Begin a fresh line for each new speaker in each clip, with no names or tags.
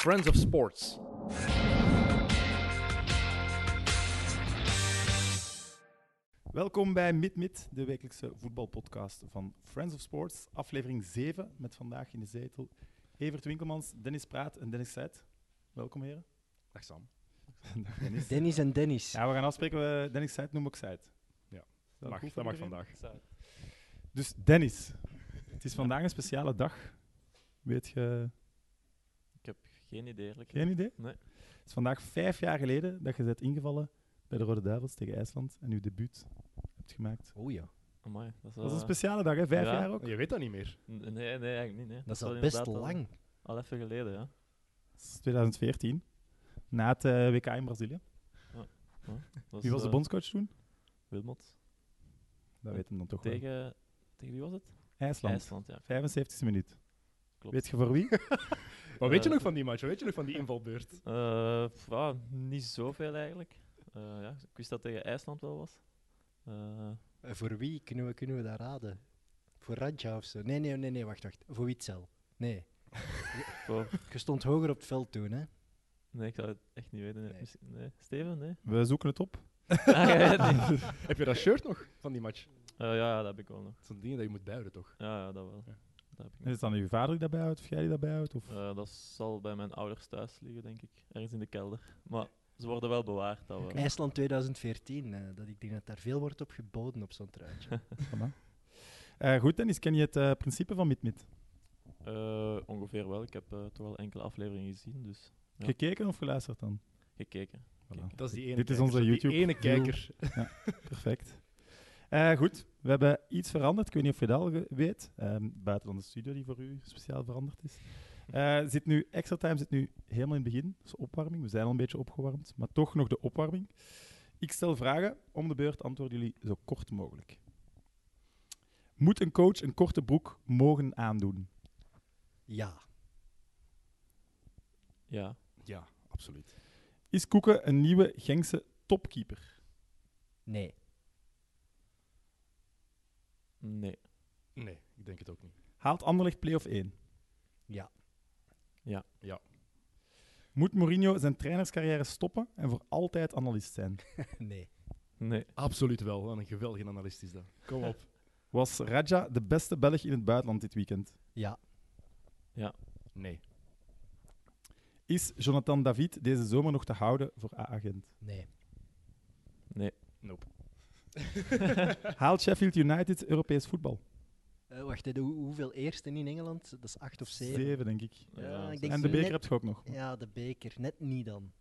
Friends of Sports.
Welkom bij MidMid, de wekelijkse voetbalpodcast van Friends of Sports, aflevering 7 met vandaag in de zetel Evert Winkelmans, Dennis Praat en Dennis Zet. Welkom heren.
Dag Sam.
Dag Dennis.
Dennis en Dennis.
Ja, we gaan afspreken, we- Dennis Zet noem ik Zet.
Ja,
dat
mag,
goed
dat
voor
mag
iedereen?
vandaag.
Dus Dennis, het is vandaag een speciale dag. Weet je,
Ik heb geen idee eigenlijk.
geen idee?
Nee.
Het is vandaag vijf jaar geleden dat je bent ingevallen bij de Rode Duivels tegen IJsland en je debuut hebt gemaakt.
Oh ja.
Amai, dat is,
Dat is een
eh,
speciale dag, hè? Vijf
ja.
jaar ook.
Je weet dat niet meer.
n- Nee, nee, eigenlijk niet. Nee.
Dat is
wel
al best
inderdaad al-
lang.
Al, even geleden, ja.
Het is 2014, na het eh, WK in Brazilië.
Dat
Wie was de
eh,
bondscoach toen?
Wilmot.
Dat weet hem dan toch wel.
Tegen, tegen wie was het?
IJsland.
IJsland, ja.
75e minuut.
Klopt.
Weet je voor wie?
Wat weet je
Eh,
nog van die match? Wat weet je nog van die invalbeurt?
Eh, pff, ah, niet zoveel eigenlijk. Eh, ja, ik wist dat tegen IJsland wel was. Eh,
Eh, Voor wie kunnen we, kunnen we dat raden? Voor Radja of zo? Nee, nee, nee, nee, wacht, wacht. Voor Witzel. Nee.
voor-
Je stond hoger op het veld toen, hè?
oh, nee, ik zou het echt niet weten. Nee.
Nee.
Misschien- nee. Steven, nee?
We zoeken het op.
Ah, jij weet het niet.
Heb je dat shirt nog van die match?
Eh, ja, ja, dat heb ik wel nog.
Dat zijn dingen dat je moet duiden, toch?
Ja, ja dat wel.
Ja.
Dat, heb ik
En
nog.
is dan uw vader die daarbij houdt of jij die daarbij houdt? Of...
Eh, dat zal bij mijn ouders thuis liggen, denk ik. Ergens in de kelder. Maar ze worden wel bewaard. Dat wel.
IJsland 2014. eh, dat ik denk dat daar veel wordt op geboden op zo'n truitje.
Voilà. Eh, goed, Dennis, ken je het eh, principe van MidMid?
Eh, ongeveer wel. Ik heb eh, toch wel enkele afleveringen gezien, dus Ja.
Gekeken of geluisterd dan?
gekeken.
Voilà.
Dat is die ene
Dit is
kijker,
onze
zo,
YouTube
Die ene
view.
kijker.
Perfect. Eh, goed, we hebben iets veranderd. Ik weet niet of je dat al ge- weet. Ehm, buiten dan de studio die voor u speciaal veranderd is. Eh, zit nu, extra time zit nu helemaal in het begin. Dus opwarming. We zijn al een beetje opgewarmd, maar toch nog de opwarming. Ik stel vragen. Om de beurt antwoorden jullie zo kort mogelijk. Moet een coach een korte broek mogen aandoen?
ja.
Ja,
Ja, absoluut.
Is Koeken een nieuwe Genkse topkeeper?
Nee.
nee,
Nee, ik denk het ook niet.
Haalt Anderlecht play-off 1?
Ja.
Moet Mourinho zijn trainerscarrière stoppen en voor altijd analist zijn?
Nee.
nee,
Absoluut wel. Wat een geweldige analist is dat. Kom op.
Was Raja de beste Belg in het buitenland dit weekend?
Ja.
Nee.
Is Jonathan David deze zomer nog te houden voor A-agent?
Nee.
nee,
Nope.
Haalt Sheffield United Europees voetbal?
Eh, wacht, hè, de hoe- hoeveel eersten in Engeland? Dat is acht of zeven.
denk ik.
Ja,
Ja,
ik
dat
denk
En de beker
net-
heb je ook nog.
Ja, de beker. Net niet dan.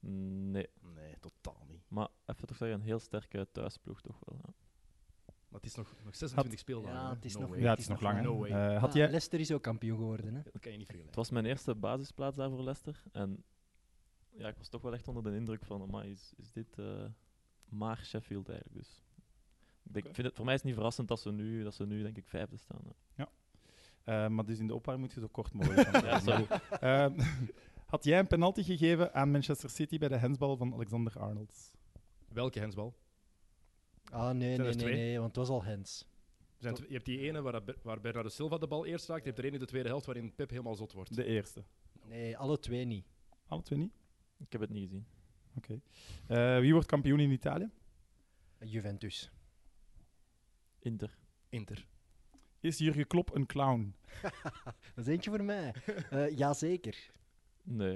nee.
Nee, totaal niet.
Maar even toch zeggen, een heel sterke thuisploeg toch wel. Ja.
Maar het is nog, nog 26 speeldagen.
Ja,
hè?
het is
No
nog-
way.
Ja, het is nog lang. hè.
No way.
Eh, had
Ah,
jij...
Leicester is ook kampioen geworden, hè?
Dat kan je niet vergelijken.
Het was mijn eerste basisplaats daar voor Leicester. En ja, ik was toch wel echt onder de indruk van, maar is, is dit eh, maar Sheffield eigenlijk? Dus ik denk,
Oké.
vind het, voor mij is het niet verrassend dat ze nu, dat ze nu denk ik vijfde staan. ja.
Eh, maar dus in de opwarming moet je zo kort mogelijk. gaan.
Ja, sorry.
Eh, had jij een penalty gegeven aan Manchester City bij de handsbal van Alexander Arnold?
Welke hensbal?
Ah, nee,
Zijn er
nee, nee,
twee?
nee, want het was al Hens.
Er zijn tw- je hebt die ene waar, dat- waar Bernardo Silva de bal eerst raakt. Je hebt er één in de tweede helft waarin Pep helemaal zot wordt.
De eerste.
Nee, alle twee niet.
Alle twee niet?
Ik heb het niet gezien.
Oké. Eh, wie wordt kampioen in Italië?
Juventus.
Inter.
Inter.
Is Jurgen Klopp een clown?
Dat is eentje voor mij. Eh jazeker.
Nee.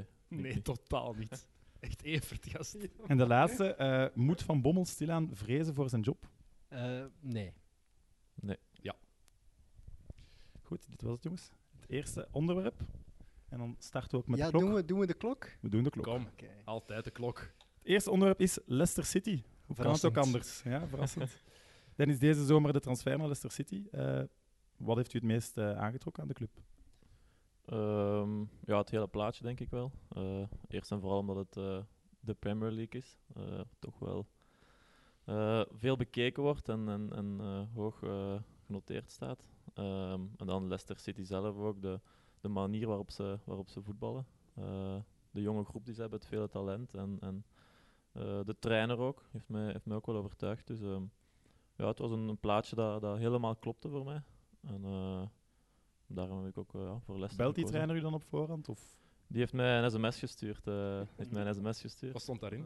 denk
Nee,
niet.
totaal niet. Echt Evert, gast.
En de laatste, eh, moet Van Bommel stilaan vrezen voor zijn job?
Eh, nee.
Goed, dit was het, jongens. Het eerste onderwerp. En dan starten we ook met
ja,
de klok.
Doen, we, doen we de klok?
We doen de klok.
Kom,
Oké.
altijd de klok.
Het eerste onderwerp is Leicester City. Hoe kan het ook
Verrassend.
anders? Ja, verrassend. Dan is deze zomer de transfer naar Leicester City. Eh, wat heeft u het meest eh, aangetrokken aan de club?
Ehm, ja, het hele plaatje denk ik wel. Eh, eerst en vooral omdat het eh, de Premier League is. Eh, toch wel eh, veel bekeken wordt en, en, en eh, hoog eh, genoteerd staat. Ehm, en dan Leicester City zelf ook, de, de manier waarop ze, waarop ze voetballen. Eh, de jonge groep die ze hebben, het vele talent. En, en eh, de trainer ook, heeft mij, heeft mij ook wel overtuigd. Dus ehm, ja, het was een, een plaatje dat, dat helemaal klopte voor mij. En eh, daarom heb ik ook eh, ja, voor Leicester
Belt die
gekozen.
trainer u dan op voorhand? Of?
Die heeft mij een sms gestuurd. eh, heeft mij een sms gestuurd.
Wat stond daarin?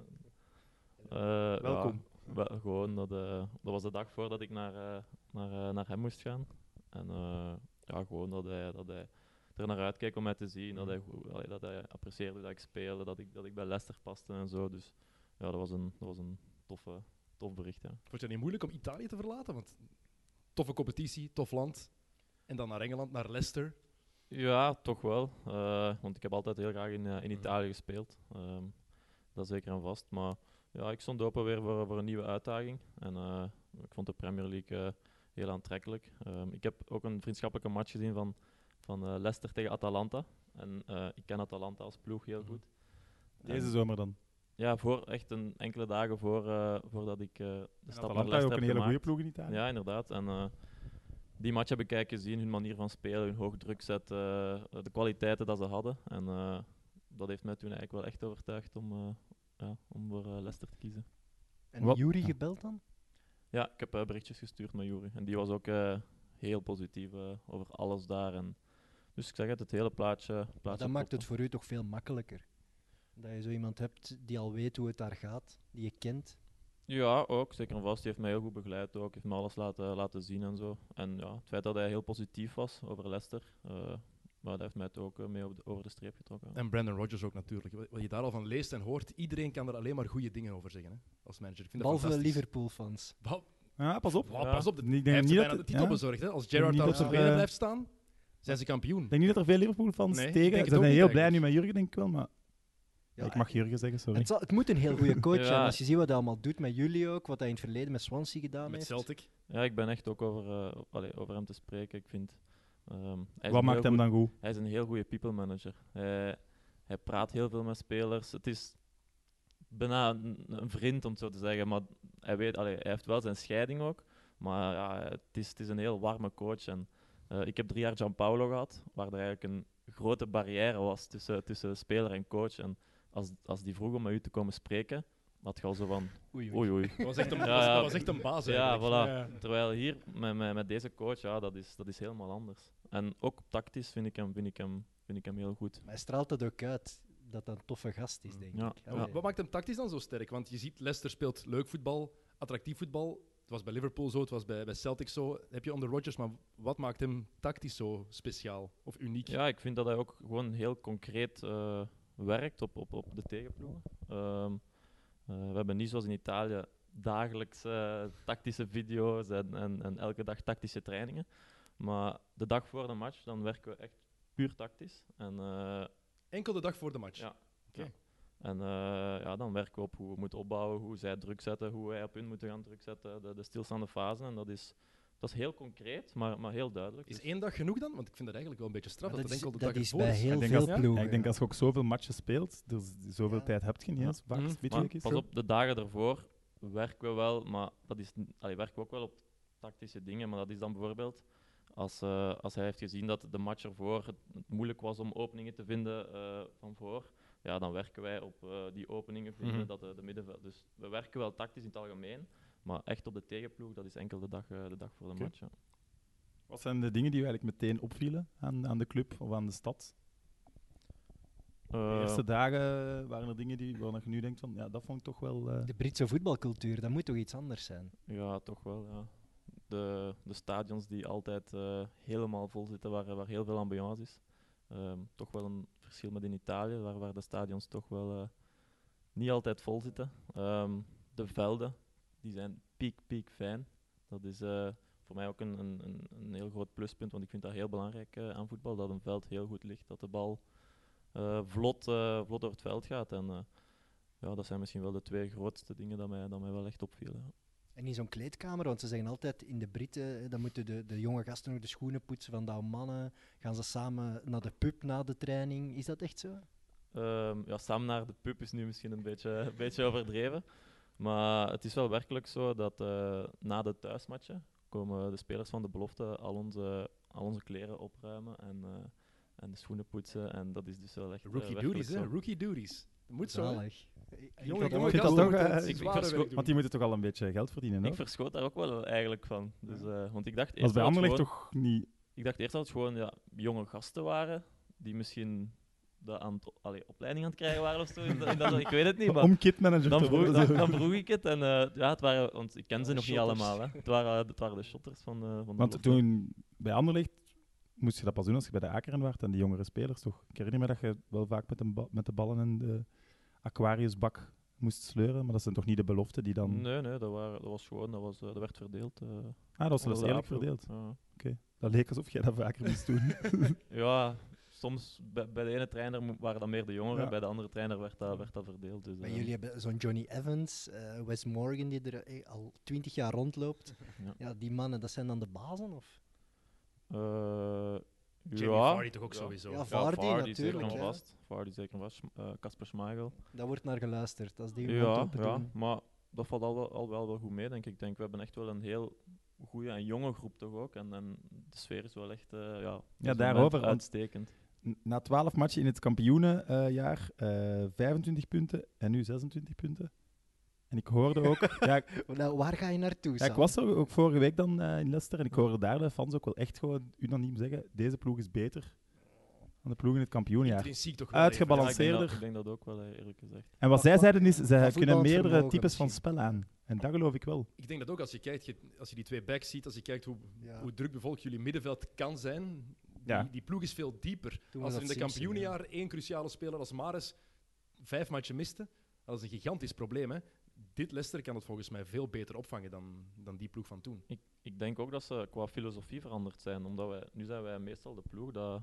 Eh, ja,
Welkom.
wel, gewoon, dat, eh, dat was de dag voordat ik naar, eh, naar, eh, naar hem moest gaan. En eh, ja, gewoon dat hij, dat hij er naar uitkeek om mij te zien. Dat hij, goed- allee, dat hij apprecieerde dat ik speelde, dat ik, dat ik bij Leicester paste en zo. Dus ja, dat was een, dat was een toffe, tof bericht. Ja.
Wordt het niet moeilijk om Italië te verlaten? Want toffe competitie, tof land. En dan naar Engeland, naar Leicester.
Ja, toch wel. Eh, want ik heb altijd heel graag in, eh, in
Mm.
Mhm.
Italië gespeeld. Ehm, dat zeker en vast. Maar ja, ik stond open weer voor, voor een nieuwe uitdaging. En eh, ik vond de Premier League eh, heel aantrekkelijk. Ehm, ik heb ook een vriendschappelijke match gezien van, van eh, Leicester tegen Atalanta. En eh, ik ken Atalanta als ploeg heel
Mhm.
goed.
Deze
En-
zomer dan.
Ja, voor, echt een enkele dagen voor, eh, voordat ik eh, de
En
stap naar
Atalanta is
Leicester
ook
heb
een hele
gemaakt.
goede ploeg in Italië.
Ja, inderdaad. En eh, die match heb ik eigenlijk gezien, hun manier van spelen, hun hoog druk zetten, eh, de kwaliteiten dat ze hadden. En eh, dat heeft mij toen eigenlijk wel echt overtuigd om, eh, ja, om voor eh, Leicester te kiezen.
En
Wat-
Jury
ja.
gebeld dan?
Ja, ik heb eh, berichtjes gestuurd naar Jury. En die was ook eh, heel positief eh, over alles daar. En, dus ik zeg het, het hele plaatje.
Maar
plaatje
dat maakt het
klopte.
voor u toch veel makkelijker. Dat je zo iemand hebt die al weet hoe het daar gaat, die je kent.
Ja, ook. Zeker en vast. Die heeft mij heel goed begeleid ook. Heeft me alles laten, laten zien en zo. En ja, het feit dat hij heel positief was over Leicester, eh, maar dat heeft mij het ook eh, mee op de- over de streep getrokken. ja.
En Brandon Rodgers ook natuurlijk. Wat- Wat je daar al van leest en hoort, iedereen kan er alleen maar goede dingen over zeggen hè, als manager. Ik vind dat
Behalve
fantastisch.
Liverpool-fans.
Ba-
Ja, Ah, pas op.
Wauw,
Ja.
Pas op,
Ik
de,
denk
hij heeft
niet
ze
dat
bijna de
het-
titel
ja.
bezorgd. Hè? Als
denk
Gerrard
niet
daar op
dat
zijn
ze-
benen
eh,
blijft staan, zijn ze kampioen.
Ik denk niet dat er veel Liverpool-fans
Nee, ik denk
tegen
het
Ze zijn
ook niet
heel blij
eigenlijk.
nu met Jurgen, denk ik wel. Maar
Ja,
ik mag Jurgen zeggen, sorry.
het, zal- het moet een heel goede coach
Ja.
zijn. Als je ziet wat hij allemaal doet met jullie ook, wat hij in het verleden met Swansea gedaan
Met
heeft.
Celtic.
Ja, ik ben echt ook over, eh, allee, over hem te spreken. Ik vind, ehm, hij, is een heel
Wat maakt hem
goe-
dan goed?
hij is een heel goede people manager. Hij, hij praat heel veel met spelers. Het is bijna een, een vriend, om het zo te zeggen. Maar hij, weet, allee, hij heeft wel zijn scheiding ook. Maar ja, het, is, het is een heel warme coach. En, eh, ik heb drie jaar Gianpaolo gehad, waar er eigenlijk een grote barrière was tussen, tussen speler en coach. En als, als die vroeg om met u te komen spreken, had je al zo van
Oei, oei.
oei oei.
Dat was echt een,
Ja,
dat was-
ja.
dat was echt een baas
Ja,
eigenlijk.
voilà. Terwijl hier met, met, met deze coach, ja, dat is, dat is helemaal anders. En ook tactisch vind ik hem, vind ik hem, vind ik hem heel goed.
Maar hij straalt dat ook uit, dat dat een toffe gast is, denk
Ja,
ik.
ja.
Wa-
Allee.
Wat maakt hem tactisch dan zo sterk? Want je ziet, Leicester speelt leuk voetbal, attractief voetbal. Het was bij Liverpool zo, het was bij, bij Celtic zo. Heb je onder Rodgers, maar wat maakt hem tactisch zo speciaal of uniek?
Ja, ik vind dat hij ook gewoon heel concreet eh, werkt op, op, op de tegenploegen. Ehm, eh, we hebben niet zoals in Italië dagelijks eh, tactische video's en, en, en elke dag tactische trainingen. Maar de dag voor de match, dan werken we echt puur tactisch. En eh,
Enkel de dag voor de match.
Ja. En eh, ja, dan werken we op hoe we moeten opbouwen, hoe zij druk zetten, hoe wij op hun moeten gaan druk zetten, de, de stilstaande fasen. En dat is, dat is heel concreet, maar, maar heel duidelijk.
Is
Dus-
één dag genoeg dan? Want ik vind dat eigenlijk wel een beetje straf.
Maar
Dat, dat
dat is,
enkel de
dat
dag
is
ervoor
bij heel
Ik denk
veel
als-
ploegen.
Ja, ik denk als je ook zoveel matches speelt, er is- zoveel
Ja.
tijd heb je niet
Ja.
eens. Vaak
Mhm.
weet
maar
je
pas op, de dagen ervoor werken we wel, maar dat is, n- allee, werken we ook wel op tactische dingen. Maar dat is dan bijvoorbeeld als, eh, als hij heeft gezien dat de match ervoor het, het moeilijk was om openingen te vinden eh, van voor. Ja, dan werken wij op eh, die openingen vinden
Mhm.
dat de, de middenveld. Dus we werken wel tactisch in het algemeen, maar echt op de tegenploeg, dat is enkel de dag, eh, de dag voor de
Oké.
match. ja.
Wat zijn de dingen die u eigenlijk meteen opvielen aan, aan de club of aan de stad? De
Eh,
eerste dagen waren er dingen die, waarvan je nu denkt van, ja, dat vond ik toch wel... eh,
De Britse voetbalcultuur, dat moet toch iets anders zijn?
Ja, toch wel. Ja. De, de stadions die altijd eh, helemaal vol zitten, waar, waar heel veel ambiance is. Ehm, toch wel een verschil met in Italië, waar, waar de stadions toch wel eh, niet altijd vol zitten. Ehm, de velden, die zijn piek, piek fijn. Dat is eh, voor mij ook een, een, een- een heel groot pluspunt, want ik vind dat heel belangrijk eh, aan voetbal, dat een veld heel goed ligt, dat de bal eh, vlot, eh, vlot door het veld gaat. En eh, ja, dat zijn misschien wel de twee grootste dingen dat mij, dat mij wel echt opvielen. ja.
En in zo'n kleedkamer, want ze zeggen altijd in de Britten, eh, dan moeten de, de jonge gasten nog de schoenen poetsen van de mannen. Gaan ze samen naar de pub na de training? Is dat echt zo?
Ehm, ja, samen naar de pub is nu misschien een beetje, een beetje overdreven. Maar het is wel werkelijk zo dat eh, na de thuismatchen komen de spelers van de belofte al onze, al onze kleren opruimen en, eh, en de schoenen poetsen. En dat is dus wel echt eh,
Rookie
werkelijk
duties, hè?
zo.
Rookie duties. Dat moet zo. hè?
Zalig. Ik- ik
Jonge,
had
jonge
ooit-
Ik vind dat
gasten
toch,
moeten
eh,
het
ik- ik
zware
verschot-
werk doen.
Want die moeten toch al een beetje geld verdienen, hè?
Ik verschoot daar ook wel eigenlijk van. Dus, eh, want ik dacht
Als
eerst
bij
dat het
Anderlecht
gewoon-
toch niet...
ik dacht eerst dat het gewoon ja, jonge gasten waren die misschien dat aan het- allee, opleiding aan het krijgen waren of zo. in dat- in dat- ik weet het niet, maar
Om kitmanager
dan
te
vroeg,
worden.
dan,
zo.
dan vroeg ik het. En eh, ja, het waren, want ik ken ze
De
nog niet
shotters.
allemaal. Hè. Het, waren, het waren de shotters van, eh, van de
Want
belofte.
toen bij Anderlecht moest je dat pas doen als je bij de Akeren werd en die jongere spelers toch. Ik herinner me dat je wel vaak met, een ba- met de ballen in de Aquariusbak moest sleuren, maar dat zijn toch niet de beloften die dan...
Nee, nee, dat, waren, dat was gewoon, dat, was, eh, dat werd verdeeld. eh,
Ah, dat was
onder
zelfs
de
eerlijk
APRO.
verdeeld.
Ja.
Dat leek alsof jij dat vaker moest doen.
Ja, soms bij, bij de ene trainer mo- waren dat meer de jongeren,
Ja.
bij de andere trainer werd dat, werd dat verdeeld. Dus,
Maar
eh,
jullie hebben zo'n Johnny Evans, eh, Wes Morgan, die er eh, al twintig jaar rondloopt.
Ja.
Ja. die mannen, dat zijn dan de bazen? Of?
eh,
Jamie
ja.
Vardy toch ook
Ja.
sowieso.
Ja, Vardy natuurlijk,
Zeker en
hè.
vast. Vardy zeker en vast. Eh, Kasper Schmeichel.
Daar wordt naar geluisterd. Als die hun mond
Ja,
open
ja,
doen.
maar dat valt al wel, al wel, wel goed mee, denk ik. Ik denk, we hebben echt wel een heel goede en jonge groep toch ook. En, en de sfeer is wel echt eh, ja, op dit
daarover,
moment
want-
uitstekend.
Na 12 matchen in het kampioenenjaar, 25 punten en nu 26 punten. En ik hoorde ook, ja, ik-
Nou, waar ga je naartoe?
Ja, ik
Sam?
was er ook vorige week dan eh, in Leicester en ik hoorde daar de fans ook wel echt gewoon unaniem zeggen: deze ploeg is beter dan de ploeg in het kampioenjaar.
Intrinsiek toch wel.
Ja,
Uitgebalans-
even.
ik, denk dat,
balanceerder.
ik denk dat ook wel, eh, eerlijk gezegd.
En wat zij zeiden is: zij
voetballend
kunnen meerdere
vermogen
types van
misschien.
spel aan. En dat geloof ik wel.
Ik denk dat ook als je kijkt, je- als je die twee backs ziet, als je kijkt hoe,
Ja,
hoe druk bevolkt jullie middenveld kan zijn.
Ja.
Die, die ploeg is veel dieper.
toen was
als er in
dat
de
Simpson, ja.
kampioenjaar één cruciale speler als Maris vijf matchen miste, dat is een gigantisch probleem. Hè? Dit Leicester kan het volgens mij veel beter opvangen dan, dan die ploeg van toen.
Ik, ik denk ook dat ze qua filosofie veranderd zijn. Omdat wij, nu zijn wij meestal de ploeg dat,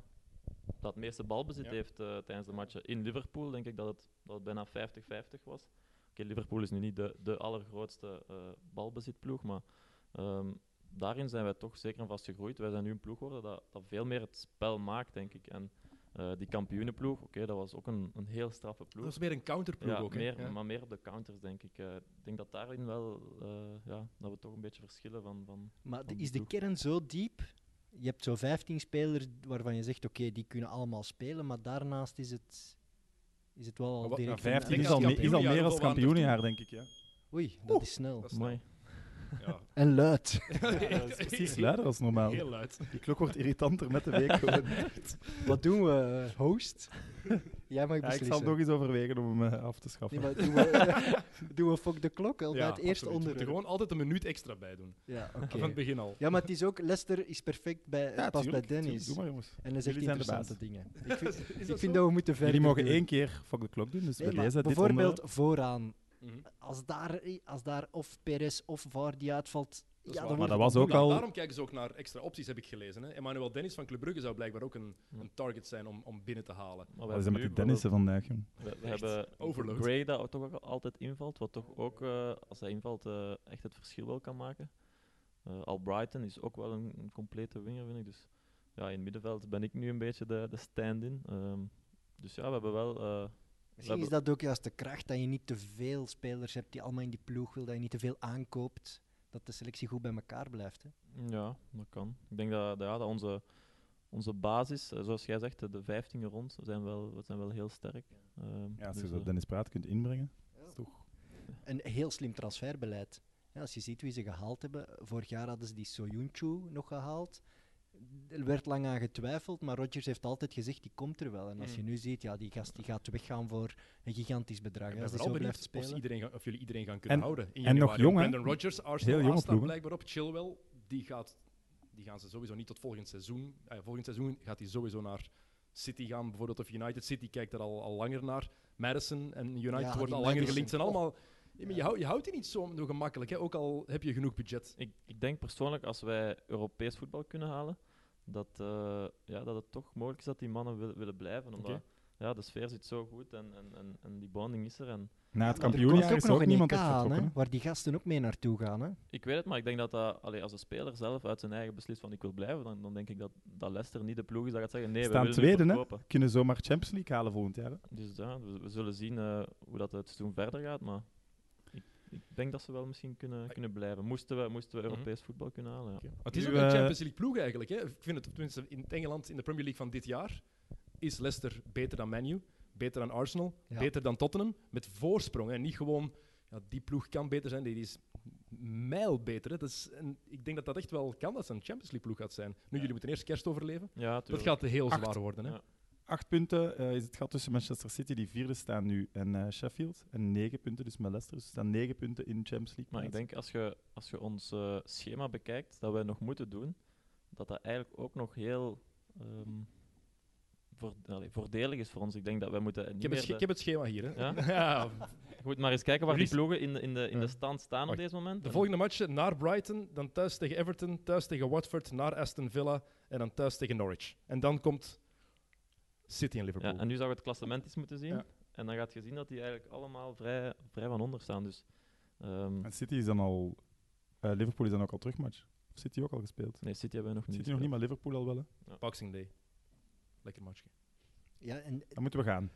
dat het meeste balbezit
Ja.
heeft eh, tijdens de matchen. In Liverpool denk ik dat het, dat het bijna 50-50 was. Oké, Liverpool is nu niet de, de allergrootste eh, balbezitploeg, maar ehm, daarin zijn wij toch zeker en vast gegroeid. Wij zijn nu een ploeg geworden dat, dat veel meer het spel maakt, denk ik. En eh, die kampioenenploeg, oké, dat was ook een, een heel straffe
Dat
ploeg.
was meer een counterploeg
Ja,
ook. hè.
meer,
Ja.
maar meer op de counters, denk ik. Eh, ik denk dat daarin wel, eh, ja, dat we toch een beetje verschillen van... van
Maar de-
die
is de
ploeg.
kern zo diep? Je hebt zo 15 spelers waarvan je zegt: oké, die kunnen allemaal spelen, maar daarnaast is het, is het wel
Maar
al
wat-
direct.
nou,
een-
15
denk
is
als
al, me- is al
kampioenenjaar
meer
ook
als
al aan
kampioenenjaar, denk ik. Ja.
Oei, dat is snel.
Dat is
Mooi.
Ja.
En luid.
dat is precies luider als normaal.
Heel luid.
Die klok wordt irritanter met de week. Gewoon.
Wat doen we, host? Jij
eh, Ja,
mag
ik
beslissen.
zal nog eens overwegen om hem eh, af te schaffen.
Nee, maar doen we, doen we fuck de klok al bij het
absoluut. Je
eerste
moet er
onderwerp?
gewoon altijd een minuut extra bij doen.
Ja, oké.
Van het begin al.
Ja, maar het is ook, Leicester is perfect bij,
Ja,
past bij
tuurlijk,
Dennis.
tuurlijk. Doe maar, jongens.
En hij zegt
Jullie zijn de
interessante
baas.
dingen. Ik vind,
Is
ik
dat
vind
zo?
dat we moeten verder
Jullie mogen
doen.
één keer fuck de klok doen, dus
Nee,
bij
maar
deze. dit
Bijvoorbeeld
onderwerp.
vooraan.
Mhm.
Als daar, als daar of Perez of Vardy uitvalt,
Dat is
ja,
waar.
Maar
dan wordt
dat
het
was ook
moeilijk.
Daarom-
al-
Daarom kijken ze ook naar extra opties, heb ik gelezen. Hè. Emmanuel Dennis van Club Brugge zou blijkbaar ook een,
Ja.
een target zijn om, om binnen te halen.
Maar we
Wat is er met
hebben
de
nu
Dennissen vandaag, jong?
bijvoorbeeld- We, we
Echt,
hebben
overload.
Gray dat ook toch ook altijd invalt, wat toch ook, eh, als hij invalt, eh, echt het verschil wel kan maken. Eh, Al Brighton is ook wel een, een complete winger, vind ik. Dus ja, in het middenveld ben ik nu een beetje de, de stand-in. Ehm, dus ja, we hebben wel... eh,
Misschien is
hebben-
dat ook juist de kracht, dat je niet te veel spelers hebt die allemaal in die ploeg wil, dat je niet te veel aankoopt, dat de selectie goed bij elkaar blijft. Hè.
Ja, dat kan. Ik denk dat, dat, ja, dat onze, onze basis, eh, zoals jij zegt, de- de 15e rond, we zijn wel, we zijn wel heel sterk. Ehm,
Ja, als je
dus,
zo
eh,
Dennis Praat kunt inbrengen.
Een heel slim transferbeleid. Ja, als je ziet wie ze gehaald hebben, vorig jaar hadden ze die Soyuncu nog gehaald. Er werd lang aan getwijfeld, maar Rodgers heeft altijd gezegd, die komt er wel. En
Hmm.
als je
Mm.
nu ziet, ja, die gast die gaat weggaan voor een gigantisch bedrag.
Ik
hè,
ben
als hij
vooral
zo blijft
benieuwd of,
spelen.
ze iedereen gaan- of jullie iedereen gaan kunnen
En-
houden. In
en nog
januari.
jong, hè?
Brendan Rodgers, Arsenal
Heel jonge
aanstaat
ploeg, hè?
blijkbaar op. Chilwell, die, gaat, die gaan ze sowieso niet tot volgend seizoen. eh, volgend seizoen gaat hij sowieso naar City gaan, bijvoorbeeld. Of United City kijkt er al, al langer naar. Madison en United
Ja,
worden
die
al langer
Madison.
gelinkt. zijn allemaal... Ja, maar je,
Ja.
houdt, je houdt die niet zo zo gemakkelijk, hè? ook al heb je genoeg budget.
ik, ik denk persoonlijk, als wij Europees voetbal kunnen halen, dat, eh, ja, dat het toch mogelijk is dat die mannen wil- willen blijven. Omdat
Oké.
ja, de sfeer zit zo goed en, en, en, en die bonding is er.
Na
En
het
Maar er
kampioenjaar
komt
is er ook
een
niemand
EK
echt
aan,
vertrokken.
hè, waar die gasten ook mee naartoe gaan. Hè?
ik weet het, maar ik denk dat, dat allee, als de speler zelf uit zijn eigen beslist van ik wil blijven, dan, dan denk ik dat, dat Leicester niet de ploeg is dat gaat zeggen nee,
Staan
we willen
tweede,
nu
hè?
verkopen.
hè. Kunnen zomaar Champions League halen volgend jaar. hè.
Dus ja, we, we zullen zien eh, hoe dat het seizoen verder gaat, maar ik, ik denk dat ze wel misschien kunnen, kunnen blijven. Moesten we, moesten we
Mhm.
Europees voetbal kunnen halen, ja.
Maar het is
Nu,
ook een
eh,
Champions League ploeg eigenlijk. Hè? Ik vind het tenminste in het Engeland in de Premier League van dit jaar is Leicester beter dan Man U, beter dan Arsenal,
Ja.
beter dan Tottenham met voorsprong en niet gewoon ja, die ploeg kan beter zijn, die is mijl beter. Hè? Dat is, en ik denk dat dat echt wel kan dat ze een Champions League ploeg gaat zijn. Nu jullie moeten eerst kerst overleven.
Ja,
Dat
tuurlijk.
gaat heel
Acht.
zwaar worden. Hè?
Ja.
Acht punten eh, is het gat tussen Manchester City, die vierde staan nu, en eh, Sheffield. En negen punten, dus met Leicester. Dus er staan negen punten in Champions League.
Maar ik
plaats.
denk als je, als je ons eh, schema bekijkt dat wij nog moeten doen, dat dat eigenlijk ook nog heel ehm, voorde- allee, voordelig is voor ons. Ik denk dat wij moeten.
Ik
Niet
heb, het,
meer
sche- ik
de-
heb het schema hier. Hè.
Ja?
Ja,
Je moet maar eens kijken waar die
Release-
ploegen in de, in de, in de
Ja.
stand staan op
Wacht,
deze moment.
de
En-
volgende matchen naar Brighton, dan thuis tegen Everton, thuis tegen Watford, naar Aston Villa en dan thuis tegen Norwich. En dan komt City en Liverpool.
Ja, en nu zou je het klassement eens moeten zien.
Ja.
En dan gaat je zien dat die eigenlijk allemaal vrij, vrij van onder staan. Dus, ehm,
En City is dan al... eh, Liverpool is dan ook al terugmatch. Of City ook al gespeeld?
nee, City hebben we nog niet.
City nog niet, maar Liverpool al wel. Hè.
Boxing Day. Lekker matchje.
Ja, en
Dan moeten we gaan.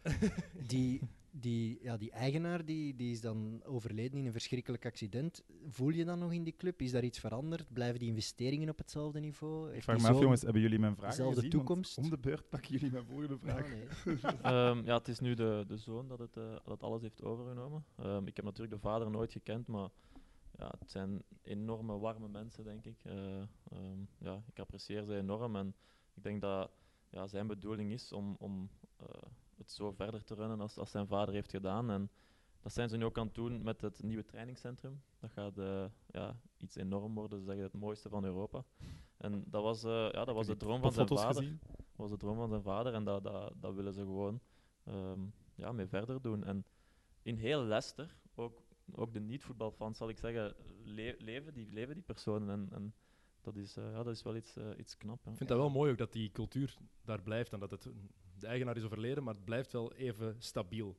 die, die, ja, die eigenaar die, die is dan overleden in een verschrikkelijk accident. Voel je dan nog in die club? Is daar iets veranderd? Blijven die investeringen op hetzelfde niveau?
Ik
Heeft
vraag
die
me af,
zoon-
jongens, hebben jullie mijn vraag
dezelfde
gezien? Want
toekomst?
Om de beurt pakken jullie mijn volgende vraag.
Ah, nee.
Ehm, ja, het is nu de, de zoon dat, het, eh, dat alles heeft overgenomen. Ehm, ik heb natuurlijk de vader nooit gekend, maar ja, het zijn enorme warme mensen, denk ik. Eh, ehm, ja, ik apprecieer ze enorm en ik denk dat ja, zijn bedoeling is om, om eh, het zo verder te runnen als, als zijn vader heeft gedaan. En dat zijn ze nu ook aan het doen met het nieuwe trainingscentrum. Dat gaat eh, ja, iets enorm worden, ze zeggen het mooiste van Europa. En dat was, eh, ja, dat was de
die
droom van zijn
foto's
vader
gezien?
was de droom van zijn vader en dat, dat, dat willen ze gewoon ehm, ja, mee verder doen. En in heel Leicester, ook, ook de niet-voetbalfans zal ik zeggen, le- leven, die, leven die personen. En, en dat, is, eh, ja, dat is wel iets, eh, iets knap. hè.
Ik vind dat wel mooi ook dat die cultuur daar blijft en dat het, de eigenaar is overleden, maar het blijft wel even stabiel.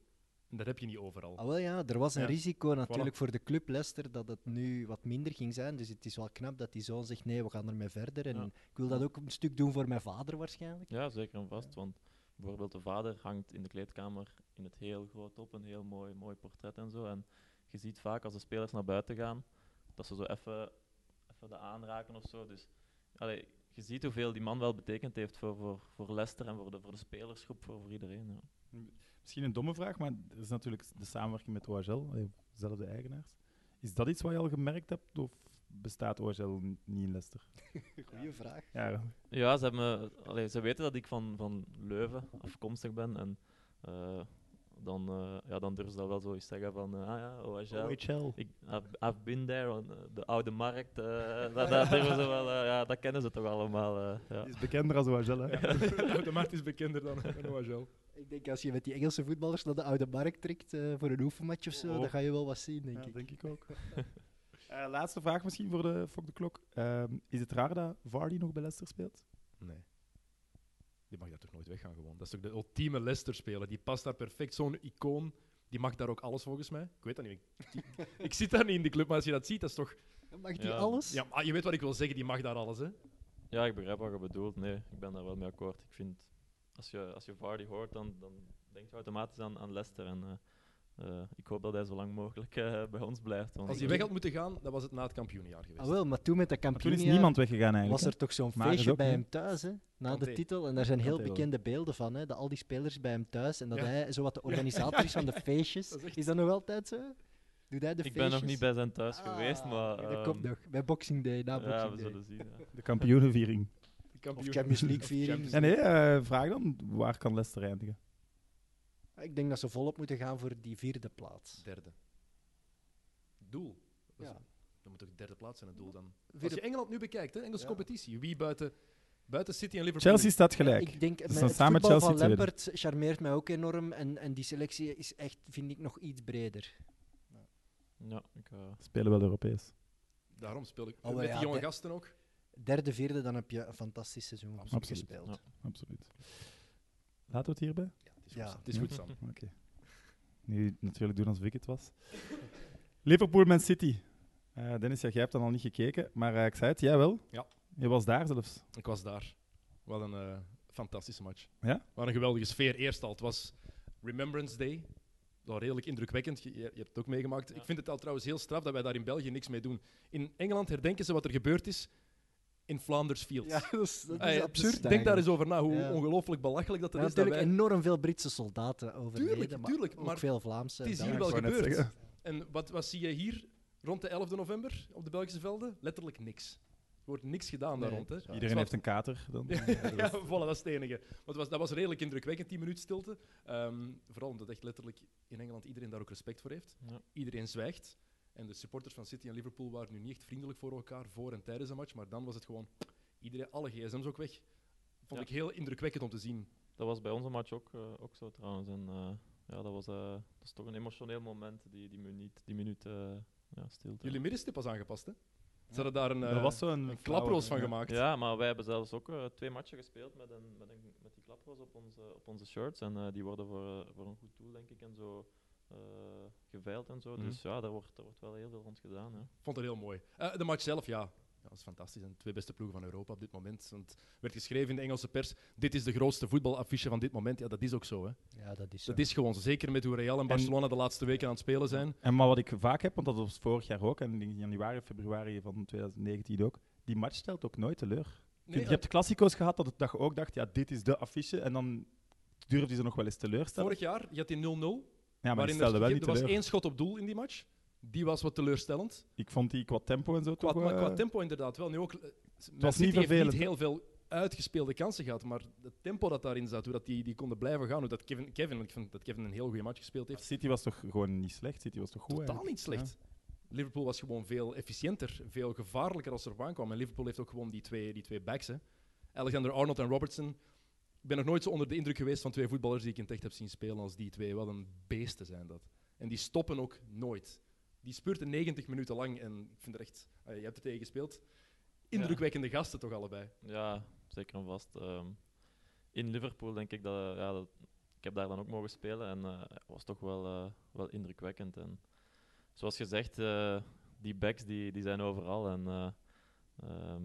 En dat heb je niet overal.
Ah, wel ja, er was een
Ja.
risico natuurlijk voor de club Leicester dat het nu wat minder ging zijn. Dus het is wel knap dat die zoon zegt, nee, we gaan ermee verder. En
Ja.
ik wil dat ook een stuk doen voor mijn vader waarschijnlijk.
Ja, zeker en vast. Want bijvoorbeeld de vader hangt in de kleedkamer in het heel groot op, een heel mooi, mooi portret en zo. En je ziet vaak als de spelers naar buiten gaan, dat ze zo even, even de aanraken of zo. Dus allee, je ziet hoeveel die man wel betekend heeft voor, voor, voor Leicester en voor de, voor de spelersgroep, voor, voor iedereen. Ja.
Misschien een domme vraag, maar er is natuurlijk de samenwerking met OHL, eh, dezelfde eigenaars. Is dat iets wat je al gemerkt hebt, of bestaat OHL n- niet in Leicester?
Goeie vraag.
Ja,
Ja, ze, hebben, me- allee, ze weten dat ik van, van Leuven afkomstig ben. En eh, dan, eh ja, dan durf ze dat wel zo eens zeggen van, eh, ah ja, OHL.
OHL.
Ik, I've, I've been there on eh, de oude markt. eh, dat, dat, durven ze wel, eh, ja, dat kennen ze toch allemaal. eh, ja.
Is bekender als OHL, hè?
de automaat is bekender dan een OHL.
Ik denk als je met die Engelse voetballers naar de oude markt trekt eh, voor een oefenmatch of zo,
Oh.
dan ga je wel wat zien, denk
Ja,
ik.
denk ik ook. Eh, laatste vraag misschien voor de Fok de Klok. Ehm, is het raar dat Vardy nog bij Leicester speelt?
Nee. Die mag daar toch nooit weggaan gewoon. Dat is toch de ultieme Leicester-speler. Die past daar perfect. Zo'n icoon. Die mag daar ook alles volgens mij. Ik weet dat niet. Ik, die- ik zit daar niet in die club, maar als je dat ziet, dat is toch...
Mag die
Ja.
alles?
Ja, maar je weet wat ik wil zeggen. Die mag daar alles, hè.
ja, ik begrijp wat je bedoelt. Nee, ik ben daar wel mee akkoord. Ik vind, als je, als je Vardy hoort, dan, dan denk je automatisch aan, aan Leicester. En, eh, eh, ik hoop dat hij zo lang mogelijk eh, bij ons blijft. Want
Als
ik-
hij weg had moeten gaan, dan was het na het kampioenjaar geweest.
Ah, wel, maar toen met dat
Maar toen is
kampioenjaar
niemand weggegaan eigenlijk.
was
hè?
er toch zo'n
Maar is
feestje
ook niet.
bij hem thuis, hè, na de
Kanté.
titel. En daar zijn heel
Kanté wel.
bekende beelden van, hè, dat al die spelers bij hem thuis en dat
Ja.
hij zowat de organisator is van de feestjes.
Dat is echt-
Is dat nog altijd zo? Doet hij de
ik
feestjes?
ben nog niet bij zijn thuis geweest,
Ah,
maar...
oké, dat komt
ehm,
nog, bij Boxing Day, na
Ja, we
Boxing Day.
zullen zien. ja.
De kampioenenviering.
De kampioen-
Of Champions League
Of
viering.
Champions
Ja, nee, eh, vraag dan, waar kan Leicester eindigen?
Ik denk dat ze volop moeten gaan voor die vierde plaats.
Derde. Doel. Dat is-
Ja.
Dan moet toch derde plaats zijn, het doel dan. Als
Vierde-
je Engeland nu bekijkt, hè, Engelse
Ja.
competitie. Wie buiten, buiten City en Liverpool?
Chelsea staat gelijk.
Ik denk,
staan
het
samen met
voetbal van
Chelsea tweede.
Lampert charmeert mij ook enorm. En, en die selectie is echt, vind ik, nog iets breder.
Ja, ik, eh,
Spelen wel Europees.
Daarom speel ik.
Oh, wel
met
ja,
die jonge
de-
gasten ook.
Derde, vierde, dan heb je een fantastisch seizoen
Absoluut.
gespeeld.
Ja.
Absoluut. Laten we het hierbij?
Ja, het is
Ja.
goed, Sam. Het is goed, Sam.
Nu natuurlijk doen als Vic het was. Liverpool, Man City. Eh, Dennis, ja, jij hebt dan al niet gekeken, maar eh, ik zei het, jij wel.
Ja.
Je was daar zelfs.
Ik was daar. Wat een eh, fantastische match.
Ja?
Wat een geweldige sfeer. Eerst al, het was Remembrance Day. Dat was redelijk indrukwekkend. Je, je hebt het ook meegemaakt.
Ja.
Ik vind het al trouwens heel straf dat wij daar in België niks mee doen. In Engeland herdenken ze wat er gebeurd is in Flanders Fields.
Ja, dat is, dat is
Ah, ja, dus
absurd.
denk daar
eigenlijk.
eens over na, hoe
Ja.
ongelooflijk belachelijk dat
Er
het
zijn
is. Dat
natuurlijk
wij,
enorm veel Britse soldaten overleden.
Tuurlijk,
maar
tuurlijk,
ook
maar
veel Vlaamse.
het is
en
hier
ik
wel
Belgische.
wou net
gebeurd.
zeggen.
En wat, wat zie je hier rond de 11e november op de Belgische velden? Letterlijk niks. Er wordt niks gedaan daar
Nee,
rond. Hè.
dat is waar.
Iedereen heeft een kater dan.
Ja,
Ja, dat
ja,
is-
voilà, dat is het enige. Maar het was, dat was redelijk indrukwekkend, 10 minuten stilte. Ehm, vooral omdat echt letterlijk in Engeland iedereen daar ook respect voor heeft.
Ja.
Iedereen zwijgt. En de supporters van City en Liverpool waren nu niet echt vriendelijk voor elkaar voor en tijdens een match. Maar dan was het gewoon iedereen, alle gsm's ook weg. Vond
Ja.
ik heel indrukwekkend om te zien.
Dat was bij onze match ook, eh, ook zo trouwens. En eh, ja, dat was eh, dat is toch een emotioneel moment, die, die minuut, die minuut eh, ja, stilte.
Jullie middenstip was aangepast, hè? Ze hadden daar een,
Er
eh,
was zo'n
een
flauwe-
klaproos van
ja.
gemaakt.
Ja, maar wij hebben zelfs ook eh, twee matchen gespeeld met, een, met, een, met die klaproos op onze, op onze shirts. En eh, die worden voor, eh, voor een goed doel, denk ik, en zo eh, geveild en zo.
Mhm.
Dus ja, daar wordt, daar wordt wel heel veel rond gedaan. Ja.
Vond het heel mooi. Eh, de match zelf, ja. ja. Dat is fantastisch. En de twee beste ploegen van Europa op dit moment. Want het werd geschreven in de Engelse pers. Dit is de grootste voetbalaffiche van dit moment. Ja, dat is ook zo. Hè.
Ja, dat is zo.
Dat is gewoon zo. Zeker met hoe Real en Barcelona de laatste weken aan het spelen zijn.
En maar wat ik vaak heb, want dat was vorig jaar ook, en in januari, februari van 2019 ook, die match stelt ook nooit teleur.
Nee,
je hebt de klassico's gehad dat, het, dat je ook dacht, ja, dit is de affiche, en dan durfde ze nog wel eens teleurstellen.
vorig jaar, je had die 0-0.
ja, maar die
waarin
stelde
er,
wel
je-
niet
er was
teleur.
één schot op doel in die match. Die was wat teleurstellend.
Ik vond die qua tempo en zo
Qua,
toch...
maar
eh,
qua tempo inderdaad wel. Nu ook, het
was niet
heeft
vervelend,
niet
hè?
heel veel uitgespeelde kansen gehad. Maar het tempo dat daarin zat, hoe dat die, die konden blijven gaan. Hoe dat Kevin, Kevin, want ik vind dat Kevin een heel goede match gespeeld heeft.
City was toch gewoon niet slecht? City was toch goed
Totaal
eigenlijk?
niet slecht. Liverpool was gewoon veel efficiënter, veel gevaarlijker als er op aankwam. En Liverpool heeft ook gewoon die twee, die twee backs. Hè. Alexander Arnold en Robertson. Ik ben nog nooit zo onder de indruk geweest van twee voetballers die ik in het echt heb zien spelen als die twee. Wat een beesten zijn dat. En die stoppen ook nooit. Die spurten 90 minuten lang en ik vind het echt... ah, je hebt er tegen gespeeld. Indrukwekkende gasten toch allebei.
Ja, zeker en vast. Ehm, in Liverpool denk ik dat, eh, ja, dat- ik heb daar dan ook mogen spelen en eh, het was toch wel, eh, wel indrukwekkend. En zoals gezegd, eh, die backs die, die zijn overal. En, eh, ehm,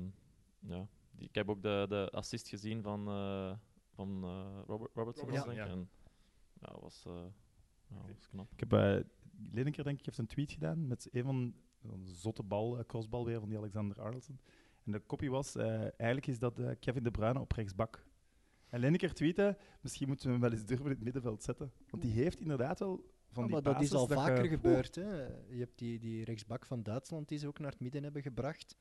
ja, die, ik heb ook de, de assist gezien van, eh, van eh, Robert, Robertson,
Robertson,
denk
ja.
ik. En, ja, dat was, eh, ja, dat was knap.
Ik heb eh Lineker, denk ik, heeft een tweet gedaan met een van een zotte bal, eh, crossbal weer van die Alexander Arnoldson. En de kopie was, eh, eigenlijk is dat eh, Kevin De Bruyne op rechtsbak. En Lineker tweette, misschien moeten we hem wel eens durven in het middenveld zetten. Want die heeft inderdaad wel van
Ja,
die
maar dat is
basis
al
je-
vaker
Oeh,
gebeurd. Hè. Je hebt die, die rechtsbak van Duitsland die ze ook naar het midden hebben gebracht.